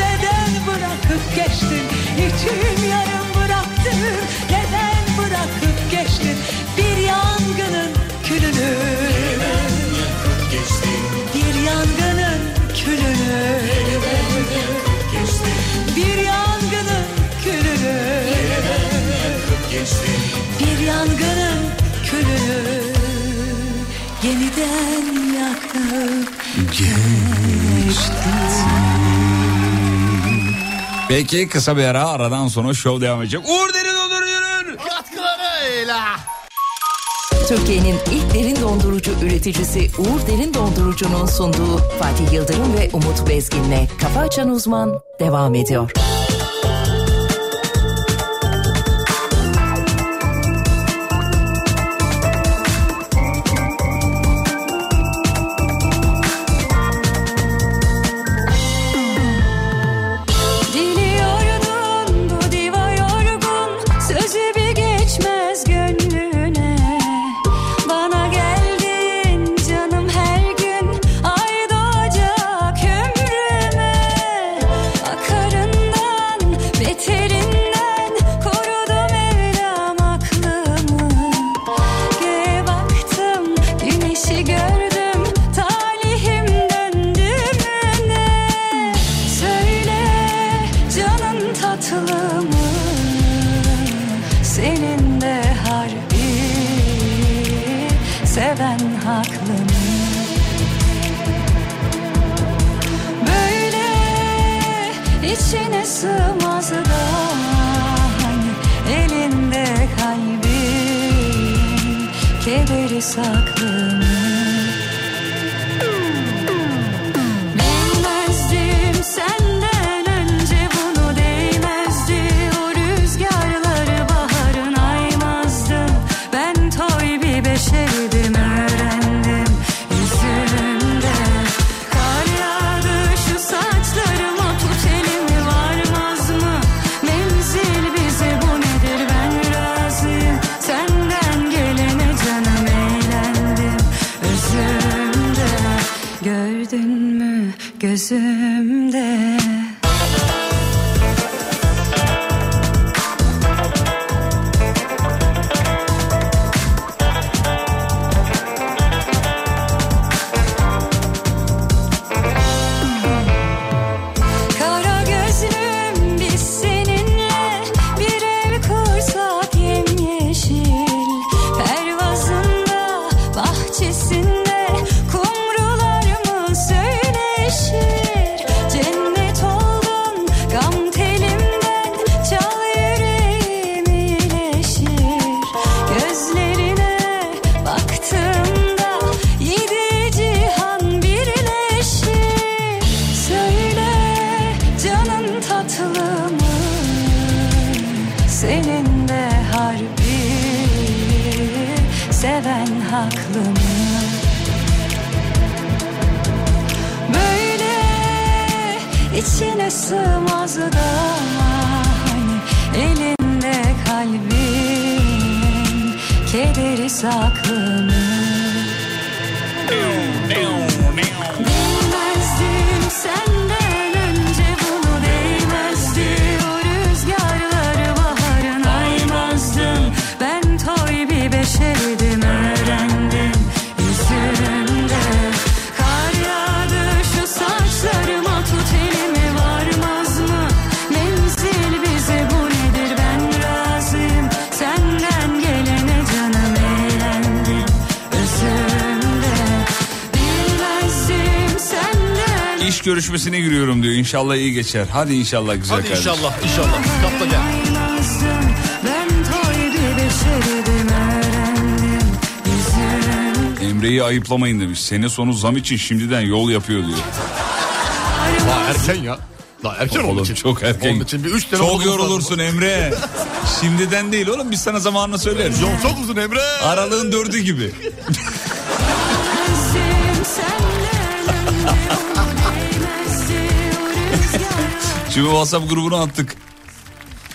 B: neden bırakıp geçtin Niçin yarım bıraktın neden bırakıp geçtin Bir yangının külünü Bir yangının külünü Bir yangının külünü bir yangının külü yeniden yakıp
D: Peki kısa bir ara aradan sonra şov devam edecek. Uğur Derin Onur Yürür.
C: Katkıları eyle.
F: Türkiye'nin ilk derin dondurucu üreticisi Uğur Derin Dondurucu'nun sunduğu Fatih Yıldırım ve Umut Bezgin'le Kafa Açan Uzman devam ediyor.
M: Diliyordun bu diva yorgun Sözü bir geçmez gönlüne Bana geldin canım her gün Ay doğacak ömrüme Akarından beterinden Korudum Mevlam aklımı Göğe baktım güneşi gördüm Talihim döndü müne Söyle canın tatlı mı Senin de harbi Seven haklı mı Böyle içine sığmaz da Hani elinde kalbin Kederi saklı mı Bilmezdim senden önce bunu değmezdi O rüzgarları baharın aymazdı Ben toy bir beşerdim öğrendim yüzünden Kar yağdı şu saçlarıma tut elimi varmaz mı Menzil bize bu nedir ben razıyım Senden gelene canım eğlendim özümde Gördün mü gözümde Kara gözlüm biz seninle bir ev kursak yemyeşil Pervazında bahçesinde kumrularımız söyleşir Cennet oldun gam telimden çal yüreğim iyileşir Gözlerine baktığımda yedi cihan birleşir Söyle canın tatlı mı? Senin de harbi seven haklı mı? Böyle içine sığmaz da hani elinde kalbin kederi saklı mı? Bilmezdim senden önce bunu değmezdi O rüzgarları baharın aymazdım Ben toy bir beşerdim öğrendim yüzünde Kar yağdı şu saçlarıma tut elimi varmaz mı Menzil bize bu nedir ben razıyım Senden gelene canım eğlendim özümde Bilmezdim senden
D: İş görüşmesine giriyorum diyor. İnşallah iyi geçer. Hadi inşallah güzel
C: Hadi
D: kardeşim.
C: inşallah inşallah. Kapla gel.
M: Aymazdım ben toy gibi şeridim öğrendim yüzüm
D: Emre'yi ayıplamayın demiş. Sene sonu zam için şimdiden yol yapıyor diyor.
C: Daha erken ya. Daha erken onun
D: Oğlum
C: için.
D: çok erken.
C: Onun için bir üç sene
D: Çok
C: olması lazım.
D: yorulursun Emre. Şimdiden değil oğlum biz sana zamanını söyleriz.
C: Yol çok uzun Emre.
D: Aralığın dördü gibi.
M: Bilmezdim senden önce bunu değmezdi o rüzgar
D: Şimdi WhatsApp grubuna attık.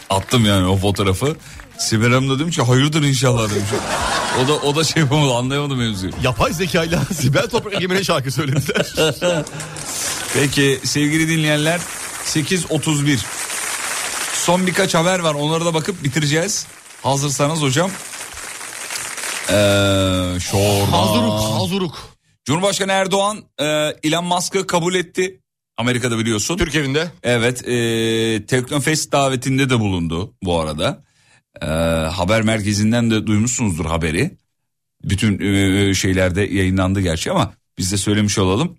D: Attım yani o fotoğrafı. Sibel Hanım da demiş ki hayırdır inşallah demiş. O da o da şey yapamadı anlayamadı mevzuyu.
C: Yapay zekayla Sibel Toprak Egemen'e şarkı söylediler.
D: Peki sevgili dinleyenler 8.31. Son birkaç haber var onlara da bakıp bitireceğiz. Hazırsanız hocam. Ee, şorba.
C: Hazuruk, hazuruk.
D: Cumhurbaşkanı Erdoğan e, Elon Musk'ı kabul etti. Amerika'da biliyorsun.
C: Türk evinde.
D: Evet, e, Teknofest davetinde de bulundu bu arada. E, haber merkezinden de duymuşsunuzdur haberi. Bütün e, şeylerde yayınlandı gerçi ama biz de söylemiş olalım.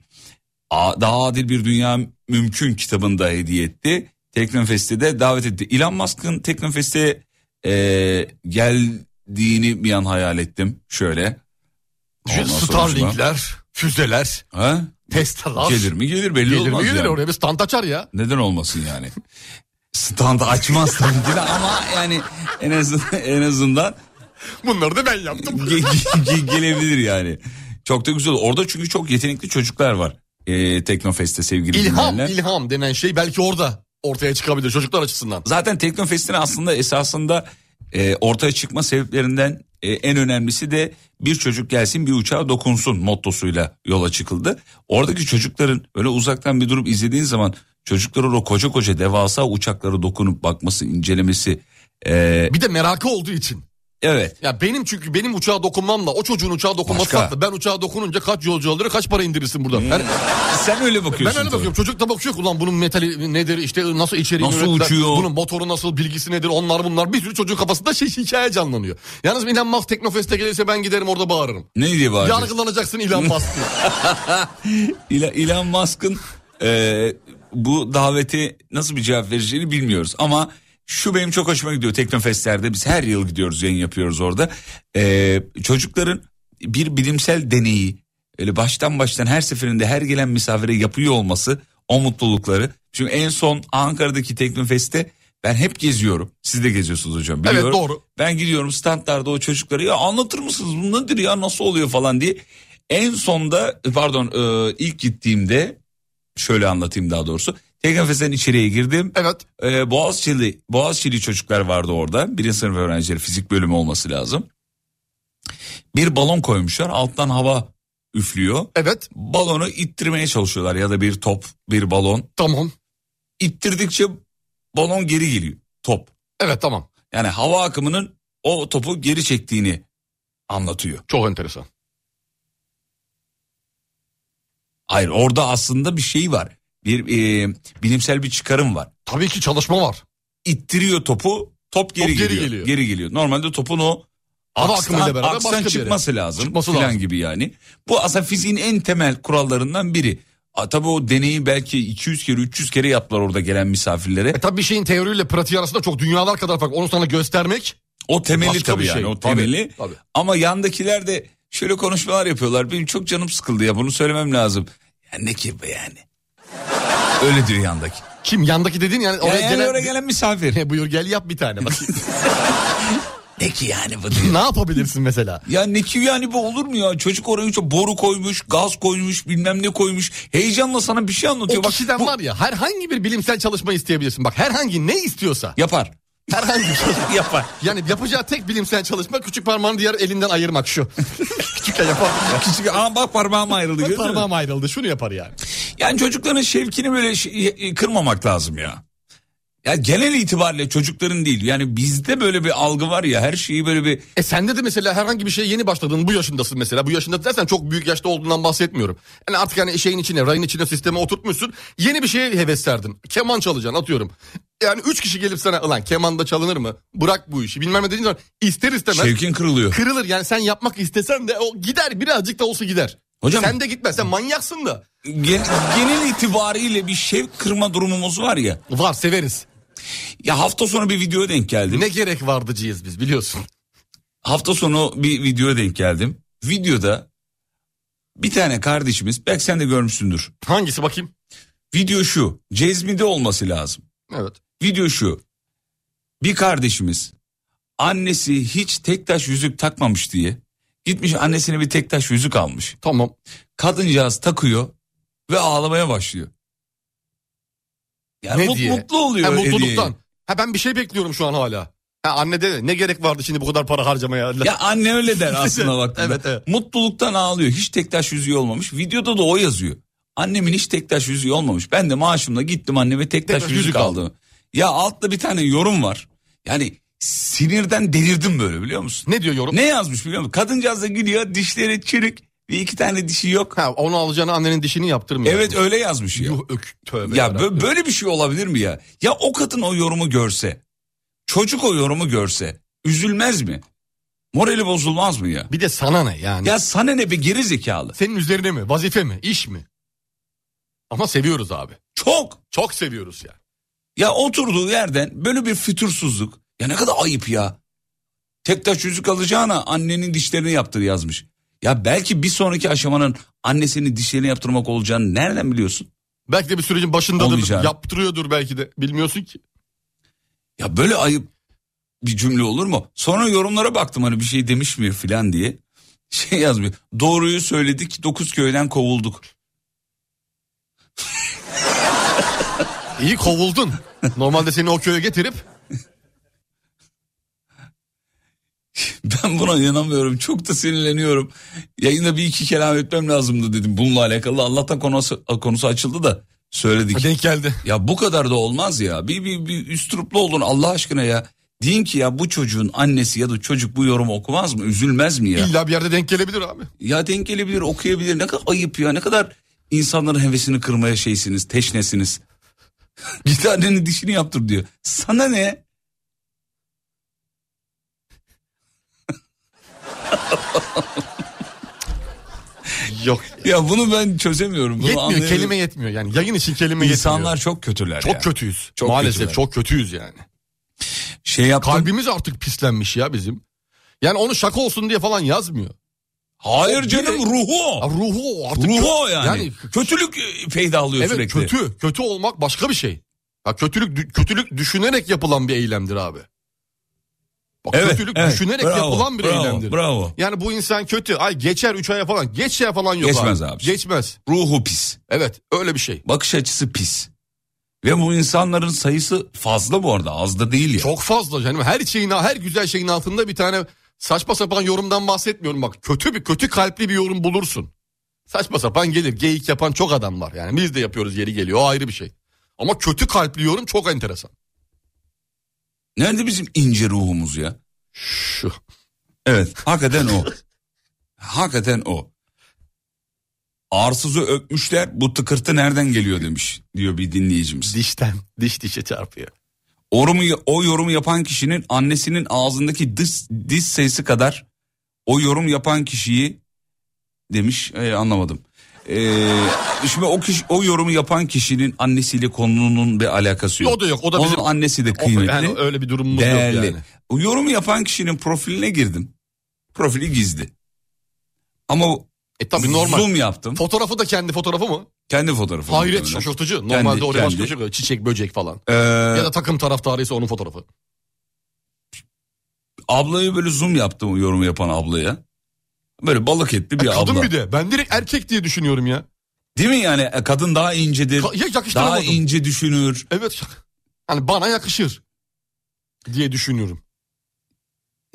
D: A- Daha Adil Bir Dünya Mümkün kitabında hediye etti. Teknofest'e de davet etti. Elon Musk'ın Teknofest'e e, geldiğini bir an hayal ettim. Şöyle. Ondan sonra
C: Starlink'ler, füzeler,
D: Ha?
C: testalar.
D: Gelir mi gelir belli
C: Gelir
D: olmaz
C: mi gelir
D: yani.
C: oraya bir stand açar ya.
D: Neden olmasın yani? Stand açmaz tabii ki de ama yani en azından, en azından
C: Bunları da ben yaptım.
D: ge- ge- ge- gelebilir yani. Çok da güzel. Orada çünkü çok yetenekli çocuklar var. Ee, Teknofest'te sevgili
C: İlham,
D: dinleyenler.
C: ilham denen şey belki orada ortaya çıkabilir çocuklar açısından.
D: Zaten Teknofest'in aslında esasında e, ortaya çıkma sebeplerinden e, en önemlisi de bir çocuk gelsin bir uçağa dokunsun mottosuyla yola çıkıldı. Oradaki çocukların öyle uzaktan bir durup izlediğin zaman çocukların o koca koca devasa uçaklara dokunup bakması, incelemesi. e,
C: Bir de merakı olduğu için.
D: evet
C: Ya benim çünkü benim uçağa dokunmamla o çocuğun uçağa dokunması
D: Başka.
C: farklı. Ben uçağa dokununca kaç yolcu alır, kaç para indirirsin buradan. Yani
D: sen öyle
C: ben
D: bakıyorsun.
C: öyle bakıyorum. Çocuk da bakıyor ki ulan bunun metali nedir, işte nasıl içeriği
D: Nasıl
C: ürettiler,
D: uçuyor?"
C: bunun motoru nasıl, bilgisi nedir, onlar bunlar. Bir sürü çocuğun kafasında şey hikaye canlanıyor. Yalnız Elon Musk Teknofest'e gelirse ben giderim orada bağırırım.
D: Ne diye bağırıyorsun?
C: Yargılanacaksın Elon Musk diye.
D: İla- Elon Musk'ın e, bu davete nasıl bir cevap vereceğini bilmiyoruz. Ama şu benim çok hoşuma gidiyor. Teknofestlerde biz her yıl gidiyoruz yayın yapıyoruz orada. E, çocukların bir bilimsel deneyi öyle baştan baştan her seferinde her gelen misafire yapıyor olması o mutlulukları. Şimdi en son Ankara'daki Teknofest'te ben hep geziyorum. Siz de geziyorsunuz hocam.
C: Evet,
D: Biliyorum.
C: doğru.
D: Ben gidiyorum standlarda o çocuklara ya anlatır mısınız bu nedir ya nasıl oluyor falan diye. En sonda pardon e, ilk gittiğimde şöyle anlatayım daha doğrusu. Teknofest'ten içeriye girdim.
C: Evet.
D: E, Boğaziçi'li, Boğaziçi'li çocuklar vardı orada. Birinci sınıf öğrencileri fizik bölümü olması lazım. Bir balon koymuşlar alttan hava üflüyor.
C: Evet.
D: Balonu ittirmeye çalışıyorlar ya da bir top bir balon.
C: Tamam.
D: İttirdikçe balon geri geliyor top.
C: Evet tamam.
D: Yani hava akımının o topu geri çektiğini anlatıyor.
C: Çok enteresan.
D: Hayır orada aslında bir şey var. Bir e, bilimsel bir çıkarım var.
C: Tabii ki çalışma var.
D: İttiriyor topu top geri,
C: geri
D: geliyor,
C: geliyor.
D: Geri geliyor. Normalde topun o
C: Hava
D: akstan,
C: akımıyla beraber
D: akstan
C: başka bir yere.
D: çıkması lazım
C: Çıkması
D: filan
C: lazım.
D: gibi yani. Bu aslında fiziğin en temel kurallarından biri. A, tabii o deneyi belki 200 kere 300 kere yaptılar orada gelen misafirlere.
C: E tabii bir şeyin teoriyle pratiği arasında çok dünyalar kadar fark. Onu sana göstermek
D: O temeli
C: başka
D: tabii
C: bir
D: yani
C: şey.
D: o
C: Tabii,
D: temeli.
C: tabii.
D: Ama yandakiler de şöyle konuşmalar yapıyorlar. Benim çok canım sıkıldı ya bunu söylemem lazım. Ya ne ki bu yani? Öyle diyor yandaki.
C: kim yandaki dedin yani
D: Oraya,
C: oraya gelen...
D: oraya gelen misafir.
C: E, buyur gel yap bir tane bak.
D: Ne ki yani bu diyor.
C: ne yapabilirsin mesela?
D: Ya ne ki yani bu olur mu ya? Çocuk oraya çok boru koymuş, gaz koymuş, bilmem ne koymuş. Heyecanla sana bir şey
C: O
D: anlatıyor. Bak
C: kişiden
D: bu-
C: var ya herhangi bir bilimsel çalışma isteyebilirsin. Bak herhangi ne istiyorsa.
D: Yapar.
C: Herhangi bir çalışma.
D: Yapar.
C: Yani yapacağı tek bilimsel çalışma küçük parmağını diğer elinden ayırmak şu. Küçükken yapar.
D: Küçük aa bak parmağım ayrıldı gördün mü?
C: Parmağım ayrıldı şunu yapar yani.
D: Yani çocukların şevkini böyle şey- kırmamak lazım ya. Ya genel itibariyle çocukların değil. Yani bizde böyle bir algı var ya her şeyi böyle bir
C: E sende de mesela herhangi bir şeye yeni başladın bu yaşındasın mesela. Bu yaşında dersen çok büyük yaşta olduğundan bahsetmiyorum. Yani artık hani şeyin içine rayın içine sisteme oturtmuşsun. Yeni bir şeye heves serdin. Keman çalacaksın atıyorum. Yani üç kişi gelip sana ulan keman da çalınır mı? Bırak bu işi bilmem ne dediğin zaman ister istemez
D: şevkin kırılıyor.
C: kırılır. Yani sen yapmak istesen de o gider birazcık da olsa gider.
D: Hocam-
C: sen de gitmez sen manyaksın da.
D: Gen- genel itibariyle bir şevk kırma durumumuz var ya.
C: Var severiz.
D: Ya hafta sonu bir videoya denk geldim.
C: Ne gerek vardıcıyız biz biliyorsun.
D: Hafta sonu bir videoya denk geldim. Videoda bir tane kardeşimiz belki sen de görmüşsündür.
C: Hangisi bakayım?
D: Video şu. Cezmide olması lazım.
C: Evet.
D: Video şu. Bir kardeşimiz annesi hiç tek taş yüzük takmamış diye gitmiş annesine bir tek taş yüzük almış.
C: Tamam.
D: Kadıncağız takıyor ve ağlamaya başlıyor. Yani
C: Ne
D: mut-
C: diye?
D: mutlu oluyor
C: Ha,
D: hediyeyi.
C: mutluluktan. Ha ben bir şey bekliyorum şu an hala. Ha, anne de ne gerek vardı şimdi bu kadar para harcamaya?
D: Ya anne öyle der aslında baktığında.
C: Evet, evet.
D: Mutluluktan ağlıyor. Hiç tektaş yüzüğü olmamış. Videoda da o yazıyor. Annemin hiç tektaş yüzüğü olmamış. Ben de maaşımla gittim anneme tektaş
C: Tektaş
D: yüzük
C: yüzük
D: aldım. Ya altta bir tane yorum var. Yani sinirden delirdim böyle biliyor musun?
C: Ne diyor yorum?
D: Ne yazmış biliyor musun? Kadıncağız da gülüyor dişleri çürük. Bir iki tane dişi yok.
C: Ha, onu alacağına annenin dişini yaptırmıyor.
D: Evet öyle yazmış ya.
C: Yuh, ök, tövbe
D: Ya
C: yarabbim.
D: bö- böyle bir şey olabilir mi ya? Ya o kadın o yorumu görse, çocuk o yorumu görse üzülmez mi? Morali bozulmaz mı ya?
C: Bir de sana ne yani?
D: Ya sana ne be geri zekalı?
C: Senin üzerine mi? Vazife mi? İş mi? Ama seviyoruz abi.
D: Çok.
C: Çok seviyoruz ya.
D: Ya oturduğu yerden böyle bir fütursuzluk. Ya ne kadar ayıp ya. Tek taş yüzük alacağına annenin dişlerini yaptır yazmış. Ya belki bir sonraki aşamanın annesinin dişlerini yaptırmak olacağını nereden biliyorsun?
C: Belki de bir sürecin başındadır.
D: Olmayacağını.
C: Yaptırıyordur belki de. Bilmiyorsun ki.
D: Ya böyle ayıp bir cümle olur mu? Sonra yorumlara baktım hani bir şey demiş mi filan diye. Şey yazmıyor. Doğruyu söyledik dokuz köyden kovulduk.
C: İyi kovuldun. Normalde seni o köye getirip
D: Ben buna inanamıyorum. Çok da sinirleniyorum. Yayında bir iki kelam etmem lazımdı dedim. Bununla alakalı Allah'tan konusu, konusu açıldı da söyledik.
C: denk geldi.
D: Ya bu kadar da olmaz ya. Bir, bir, bir üstruplu olun Allah aşkına ya. Deyin ki ya bu çocuğun annesi ya da çocuk bu yorumu okumaz mı? Üzülmez mi ya?
C: İlla bir yerde denk gelebilir abi.
D: Ya denk gelebilir, okuyabilir. Ne kadar ayıp ya. Ne kadar insanların hevesini kırmaya şeysiniz, teşnesiniz. Git annenin dişini yaptır diyor. Sana ne?
C: Yok.
D: Ya bunu ben çözemiyorum. Bunu
C: yetmiyor.
D: anlayamıyorum.
C: Kelime yetmiyor. Yani yayın için kelime
D: İnsanlar
C: yetmiyor.
D: çok kötüler
C: Çok
D: ya.
C: kötüyüz.
D: Çok
C: Maalesef
D: kötüler.
C: çok kötüyüz yani.
D: Şey yaptım.
C: Kalbimiz artık pislenmiş ya bizim. Yani onu şaka olsun diye falan yazmıyor.
D: Hayır
C: O
D: canım
C: direkt-
D: ruhu
C: Ya
D: o.
C: ruhu o artık.
D: Ruhu
C: kö-
D: o yani. Kötülük peydahlıyor
C: evet
D: sürekli.
C: kötü. Kötü olmak başka bir şey. Ya kötülük dü- kötülük düşünerek yapılan bir eylemdir abi. Bak
D: Evet,
C: kötülük
D: evet.
C: düşünerek
D: Bravo,
C: yapılan bir
D: bravo,
C: eylemdir.
D: bravo.
C: Yani bu insan kötü. Ay geçer 3 aya falan. Geçer falan yok
D: Geçmez
C: abi.
D: abi.
C: Geçmez.
D: Ruhu pis.
C: Evet öyle bir şey.
D: Bakış açısı pis. Ve bu insanların sayısı fazla bu arada. Az da değil ya.
C: Çok fazla canım. Her şeyin her güzel şeyin altında bir tane saçma sapan yorumdan bahsetmiyorum bak. Kötü bir kötü kalpli bir yorum bulursun. Saçma sapan gelir. Geyik yapan çok adam var. Yani biz de yapıyoruz yeri geliyor. O ayrı bir şey. Ama kötü kalpli yorum çok enteresan.
D: Nerede bizim ince ruhumuz ya?
C: Şu.
D: Evet hakikaten o. hakikaten o. Arsızı öpmüşler bu tıkırtı nereden geliyor demiş diyor bir dinleyicimiz.
C: Dişten. Diş dişe çarpıyor.
D: Orumu, o yorumu yapan kişinin annesinin ağzındaki diş, diş sayısı kadar o yorum yapan kişiyi demiş e, anlamadım. E, şimdi o kişi o yorumu yapan kişinin annesiyle konunun bir alakası yok.
C: O da yok, o da
D: Onun
C: bizim-
D: annesi de
C: O-
D: kıymetli.
C: Yani öyle bir durumumuz yok
D: Değerli.
C: yani.
D: O Yorum yapan kişinin profiline girdim. Profili gizli. Ama
C: E tabii normal.
D: zoom yaptım.
C: Fotoğrafı da kendi fotoğrafı mı?
D: kendi fotoğrafı.
C: Hayret
D: muhtemelen.
C: şaşırtıcı. Normalde oraya başka
D: kendi.
C: bir şey koyuyor. Çiçek, böcek falan.
D: Ee,
C: Ya da takım taraftarıysa onun fotoğrafı.
D: Ablayı böyle zoom yaptım o yorumu yapan ablaya. Böyle balık etli bir
C: E, kadın
D: abla.
C: bir de. Ben direkt erkek diye düşünüyorum ya.
D: Değil mi yani E, kadın daha incedir.
C: Ka- ya yakıştıramadım.
D: daha ince düşünür.
C: Evet. Hani bana yakışır diye düşünüyorum.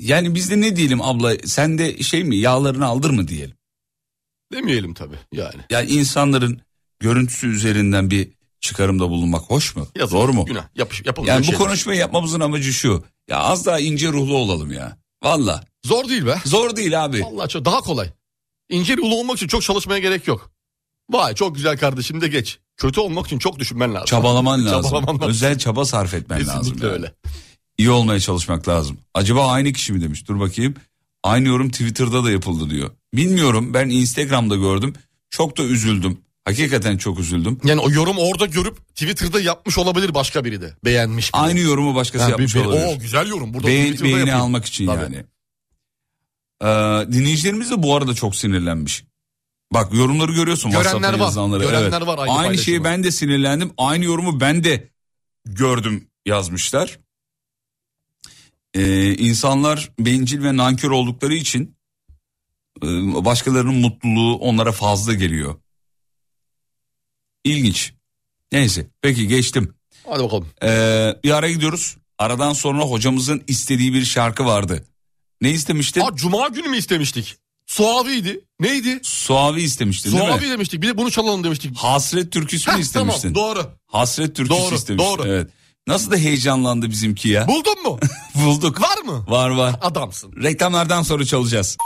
D: Yani biz de ne diyelim abla sen de şey mi yağlarını aldır mı diyelim.
C: Demeyelim tabii yani.
D: Yani insanların görüntüsü üzerinden bir çıkarımda bulunmak hoş mu?
C: Yazık,
D: Doğru mu?
C: Günah. Yapış, yapılmış
D: Yani bu
C: şeyler.
D: konuşmayı yapmamızın amacı şu. Ya az daha ince ruhlu olalım ya. Valla.
C: Zor değil be.
D: Zor değil abi.
C: Vallahi çok daha kolay. İnce ulu olmak için çok çalışmaya gerek yok. Vay çok güzel kardeşim de geç. Kötü olmak için çok düşünmen lazım.
D: Çabalaman lazım.
C: Çabalaman lazım.
D: Özel çaba sarf etmen lazım.
C: Kesinlikle
D: yani.
C: öyle.
D: İyi olmaya çalışmak lazım. Acaba aynı kişi mi demiş? Dur bakayım. Aynı yorum Twitter'da da yapıldı diyor. Bilmiyorum ben Instagram'da gördüm. Çok da üzüldüm. Hakikaten çok üzüldüm.
C: Yani o yorum orada görüp Twitter'da yapmış olabilir başka biri de. Beğenmiş biri.
D: Aynı yorumu başkası
C: Ha, bir-
D: yapmış
C: bir-
D: olabilir.
C: Oo, güzel yorum. Burada
D: Beğen,
C: Twitter'da
D: beğeni
C: yapayım.
D: almak için
C: Tabii.
D: yani. Ee, dinleyicilerimiz de bu arada çok sinirlenmiş. Bak yorumları görüyorsun.
C: Görenler
D: WhatsApp'ta
C: var.
D: yazılanları.
C: Görenler var aynı
D: aynı
C: paylaşımı.
D: şeyi ben de sinirlendim. Aynı yorumu ben de gördüm yazmışlar. Ee, insanlar bencil ve nankör oldukları için e, başkalarının mutluluğu onlara fazla geliyor. İlginç. Neyse peki geçtim.
C: Hadi bakalım.
D: Ee, bir ara gidiyoruz. Aradan sonra hocamızın istediği bir şarkı vardı. Ne istemiştin?
C: Aa, Cuma günü mü istemiştik? Suavi'ydi. Neydi?
D: Suavi istemiştin değil mi?
C: Suavi demiştik. Bir de bunu çalalım demiştik.
D: Hasret türküsü mü
C: Heh,
D: istemiştin?
C: Tamam doğru.
D: Hasret türküsü
C: Doğru,
D: istemiştin.
C: doğru.
D: Evet. Nasıl da heyecanlandı bizimki ya.
C: Buldun mu?
D: Bulduk.
C: Var mı?
D: Var var.
C: Adamsın.
D: Reklamlardan sonra çalacağız.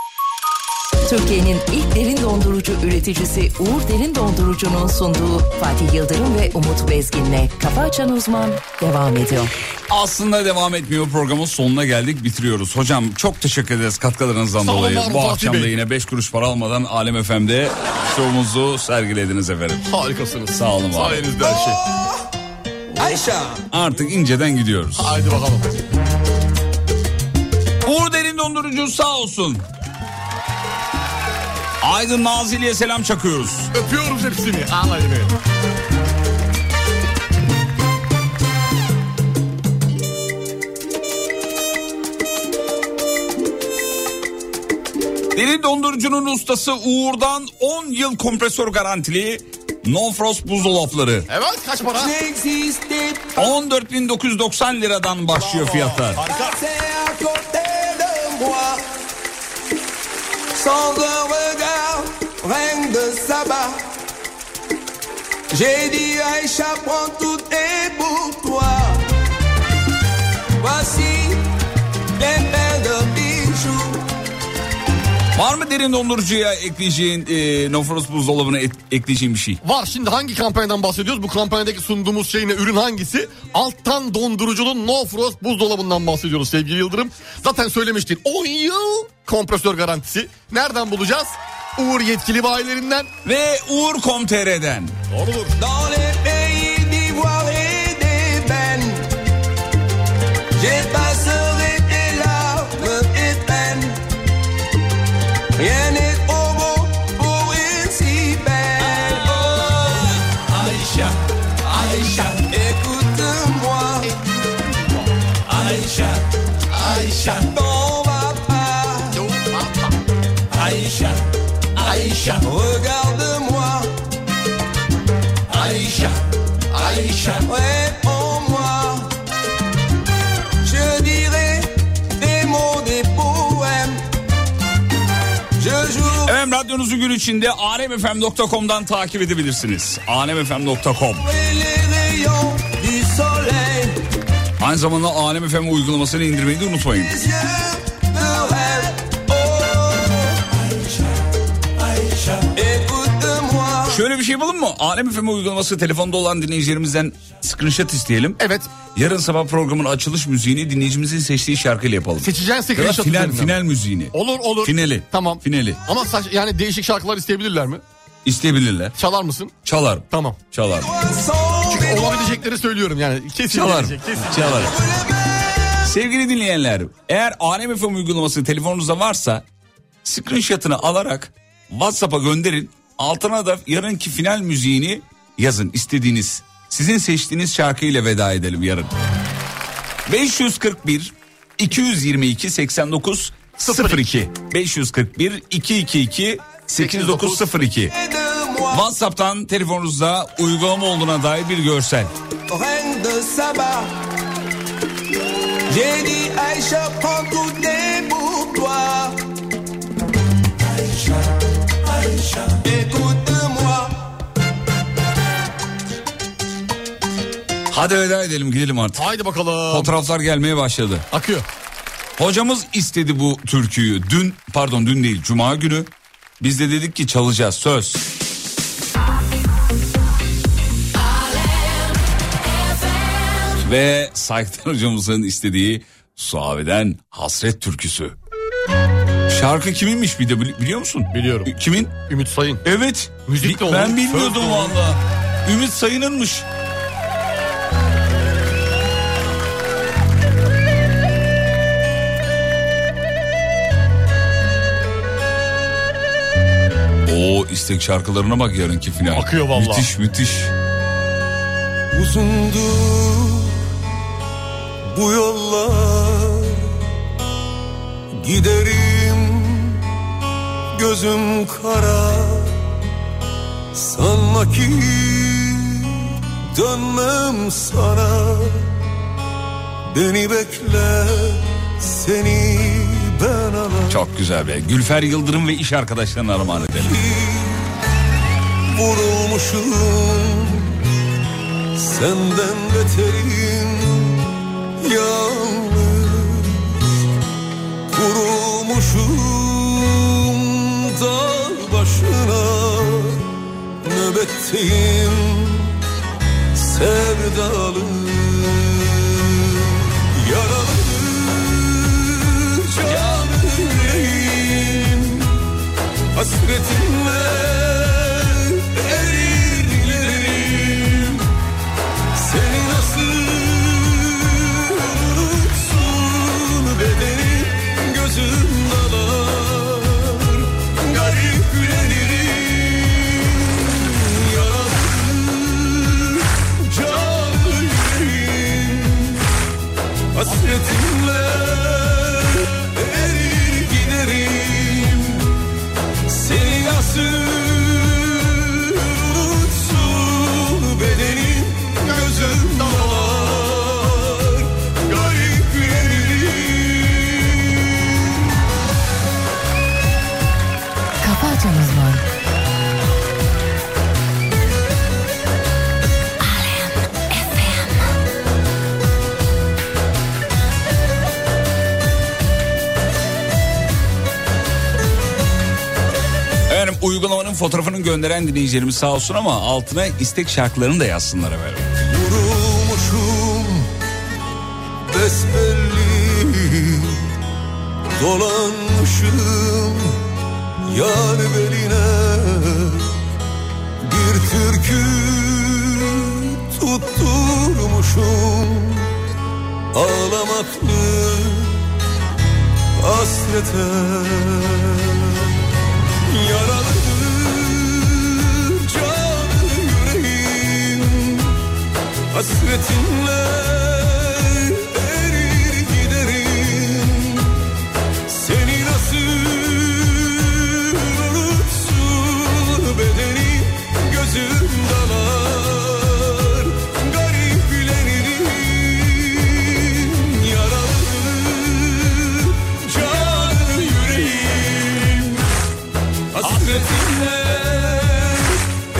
F: Türkiye'nin ilk derin dondurucu üreticisi Uğur Derin Dondurucu'nun sunduğu Fatih Yıldırım ve Umut Bezgin'le Kafa Açan Uzman devam ediyor.
D: Aslında devam etmiyor programın sonuna geldik bitiriyoruz. Hocam çok teşekkür ederiz katkılarınızdan
C: Sağ olun,
D: dolayı.
C: var olun
D: Bu
C: Fatih
D: akşam da
C: Bey.
D: yine 5 kuruş para almadan Alem FM'de şovumuzu sergilediniz efendim.
C: Harikasınız.
D: Sağ olun, var olun.
C: Sayenizde her şey.
D: Artık inceden gidiyoruz.
C: Haydi bakalım.
D: Uğur Derin Dondurucu sağ olsun. Aydın Nazilli'ye selam çakıyoruz.
C: Öpüyoruz hepsini. Ağlayın beni.
D: Derin dondurucunun ustası Uğur'dan 10 yıl kompresör garantili No Frost buzdolapları.
C: Evet kaç para?
D: 14.990 liradan başlıyor fiyatlar.
C: Harika.
N: Sans un regard, règne de sabbat. J'ai dit Aïcha, prends tout est pour toi. Voici les paires de bijoux.
D: Var mı derin dondurucuya ekleyeceğin e, No Frost buzdolabına et- ekleyeceğin bir şey?
C: Var şimdi hangi kampanyadan bahsediyoruz? Bu kampanyadaki sunduğumuz şey ne? Ürün hangisi? Alttan dondurucunun No Frost buzdolabından bahsediyoruz sevgili Yıldırım. Zaten söylemiştin 10 yıl kompresör garantisi. Nereden bulacağız? Uğur yetkili bayilerinden.
D: Ve Uğur.com.tr'den.
C: Doğrudur.
N: Dans les pays d'ivoire et d'ébène, j'effacerai tes larmes et peines. Rien n'est trop beau pour une si belle. Oh, Aïcha, Aïcha, écoute-moi. Aïcha, Aïcha, t'en vas pas. Aïcha, Aïcha, regarde-moi. Aïcha, Aïcha, réponds-moi. Je dirai des mots, des poèmes. Je jouerai.
D: Efendim radyonuzu gün içinde alemfm.com'dan takip edebilirsiniz. alemfm.com
N: les rayons du soleil,
D: Aynı zamanda Alem FM uygulamasını indirmeyi de unutmayın.
N: les yeux de rêve. Oh, Aïcha, Aïcha, écoute-moi.
D: Şöyle bir şey yapalım mı? Alem FM uygulaması telefonda olan dinleyicilerimizden screenshot isteyelim.
C: Evet
D: Yarın sabah programın açılış müziğini dinleyicimizin seçtiği şarkıyla yapalım.
C: seçeceğin
D: Ya da
C: sekreşatı.
D: final, final müziğini.
C: Olur olur.
D: Finali.
C: Tamam.
D: Finali.
C: Ama saç- yani değişik şarkılar isteyebilirler mi?
D: İsteyebilirler.
C: Çalar mısın?
D: Çalar.
C: Tamam.
D: Çalar.
C: Çünkü olabilecekleri söylüyorum yani. Kesin
D: Çalar.
C: gelecek, kesin.
D: Çalar. Sevgili dinleyenler, eğer Alem FM uygulaması telefonunuzda varsa screenshot'ını alarak WhatsApp'a gönderin. Altına da yarınki final müziğini yazın istediğiniz. Sizin seçtiğiniz şarkıyla veda edelim yarın. 541 222 89 02 541 222 8902 WhatsApp'tan telefonunuzda uygulama olduğuna dair bir görsel.
N: reine de Saba. J'ai dit Aïcha, prends tout est pour toi. Aïcha, Aïcha, écoute-moi.
D: Hadi veda edelim gidelim artık.
C: Haydi bakalım.
D: Fotoğraflar gelmeye başladı.
C: Akıyor.
D: Hocamız istedi bu türküyü. Dün pardon dün değil cuma günü. Biz de dedik ki çalacağız söz. Ve Saygıdan hocamızın istediği Suave'den Hasret Türküsü. Şarkı kiminmiş bir de bili- biliyor musun?
C: Biliyorum.
D: Kimin?
C: Ümit Sayın.
D: Evet.
C: Müzik de
D: Bi-
C: olur,
D: Ben
C: söz de
D: bilmiyordum
C: olur.
D: valla. Ümit Sayın'ınmış. O istek şarkılarına bak yarınki final.
C: Akıyor valla.
D: Müthiş müthiş.
N: Uzundu bu yollar Giderim gözüm kara Sanma ki dönmem sana
E: Beni bekle seni ben alayım
D: Çok güzel be. Gülfer Yıldırım ve iş arkadaşlarına armağan edelim.
E: Vurulmuşum Senden beterim Yalnız Kurulmuşum Dağ başına Nöbetteyim Sevdalı Yaralı Canı yüreğim Hasretinle erir ilerim Seni nasıl unutsun bedenim Gözüm dalar Garip gülerim Yaralı canlı yüreğim Hasretinle erir giderim seni nasıl unutsun bedenim gözüm dolar garip yerim.
F: Kafa Açan Uzman.
D: Efendim uygulamanın fotoğrafını gönderen dinleyicilerimiz sağ olsun ama altına istek şarkılarını da yazsınlar efendim.
E: Vurulmuşum besbelli Dolanmışım yar beline Bir türkü tutturmuşum Ağlamaklı hasrete Yaralı canı yüreğim Hasretinle erir giderim Seni nasıl unutsun bedenim Gözüm dalar garip gülerim Yaralı canı yüreğim Hasretinle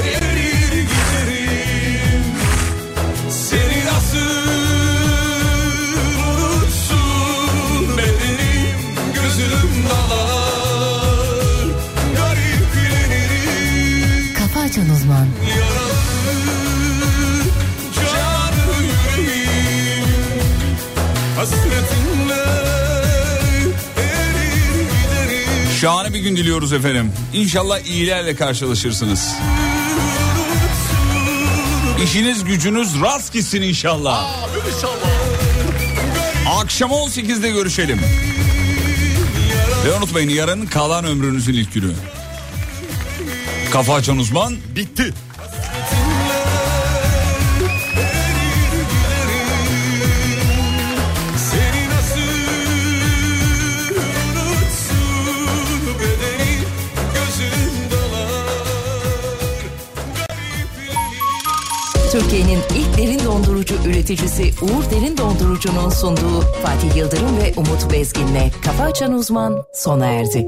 E: erir giderim seni nasıl unutsun bedenim gözüm dalar Garip gülerim
F: Kafa Açan Uzman.
E: yaralı canı yüreğim Hasretinle erir giderim
D: Şahane bir gün diliyoruz efendim. İnşallah iyilerle karşılaşırsınız. İşiniz gücünüz rast gitsin inşallah.
C: Abi inşallah.
D: Akşam 18'de görüşelim. Ve unutmayın yarın kalan ömrünüzün ilk günü. Kafa açan uzman
C: Bitti.
E: Seni nasıl unutsun bedenim gözüm dolar
F: Türkiye'nin ilk derin dondurucu üreticisi Uğur Derin Dondurucu'nun sunduğu Fatih Yıldırım ve Umut Bezgin'le Kafa Açan Uzman sona erdi.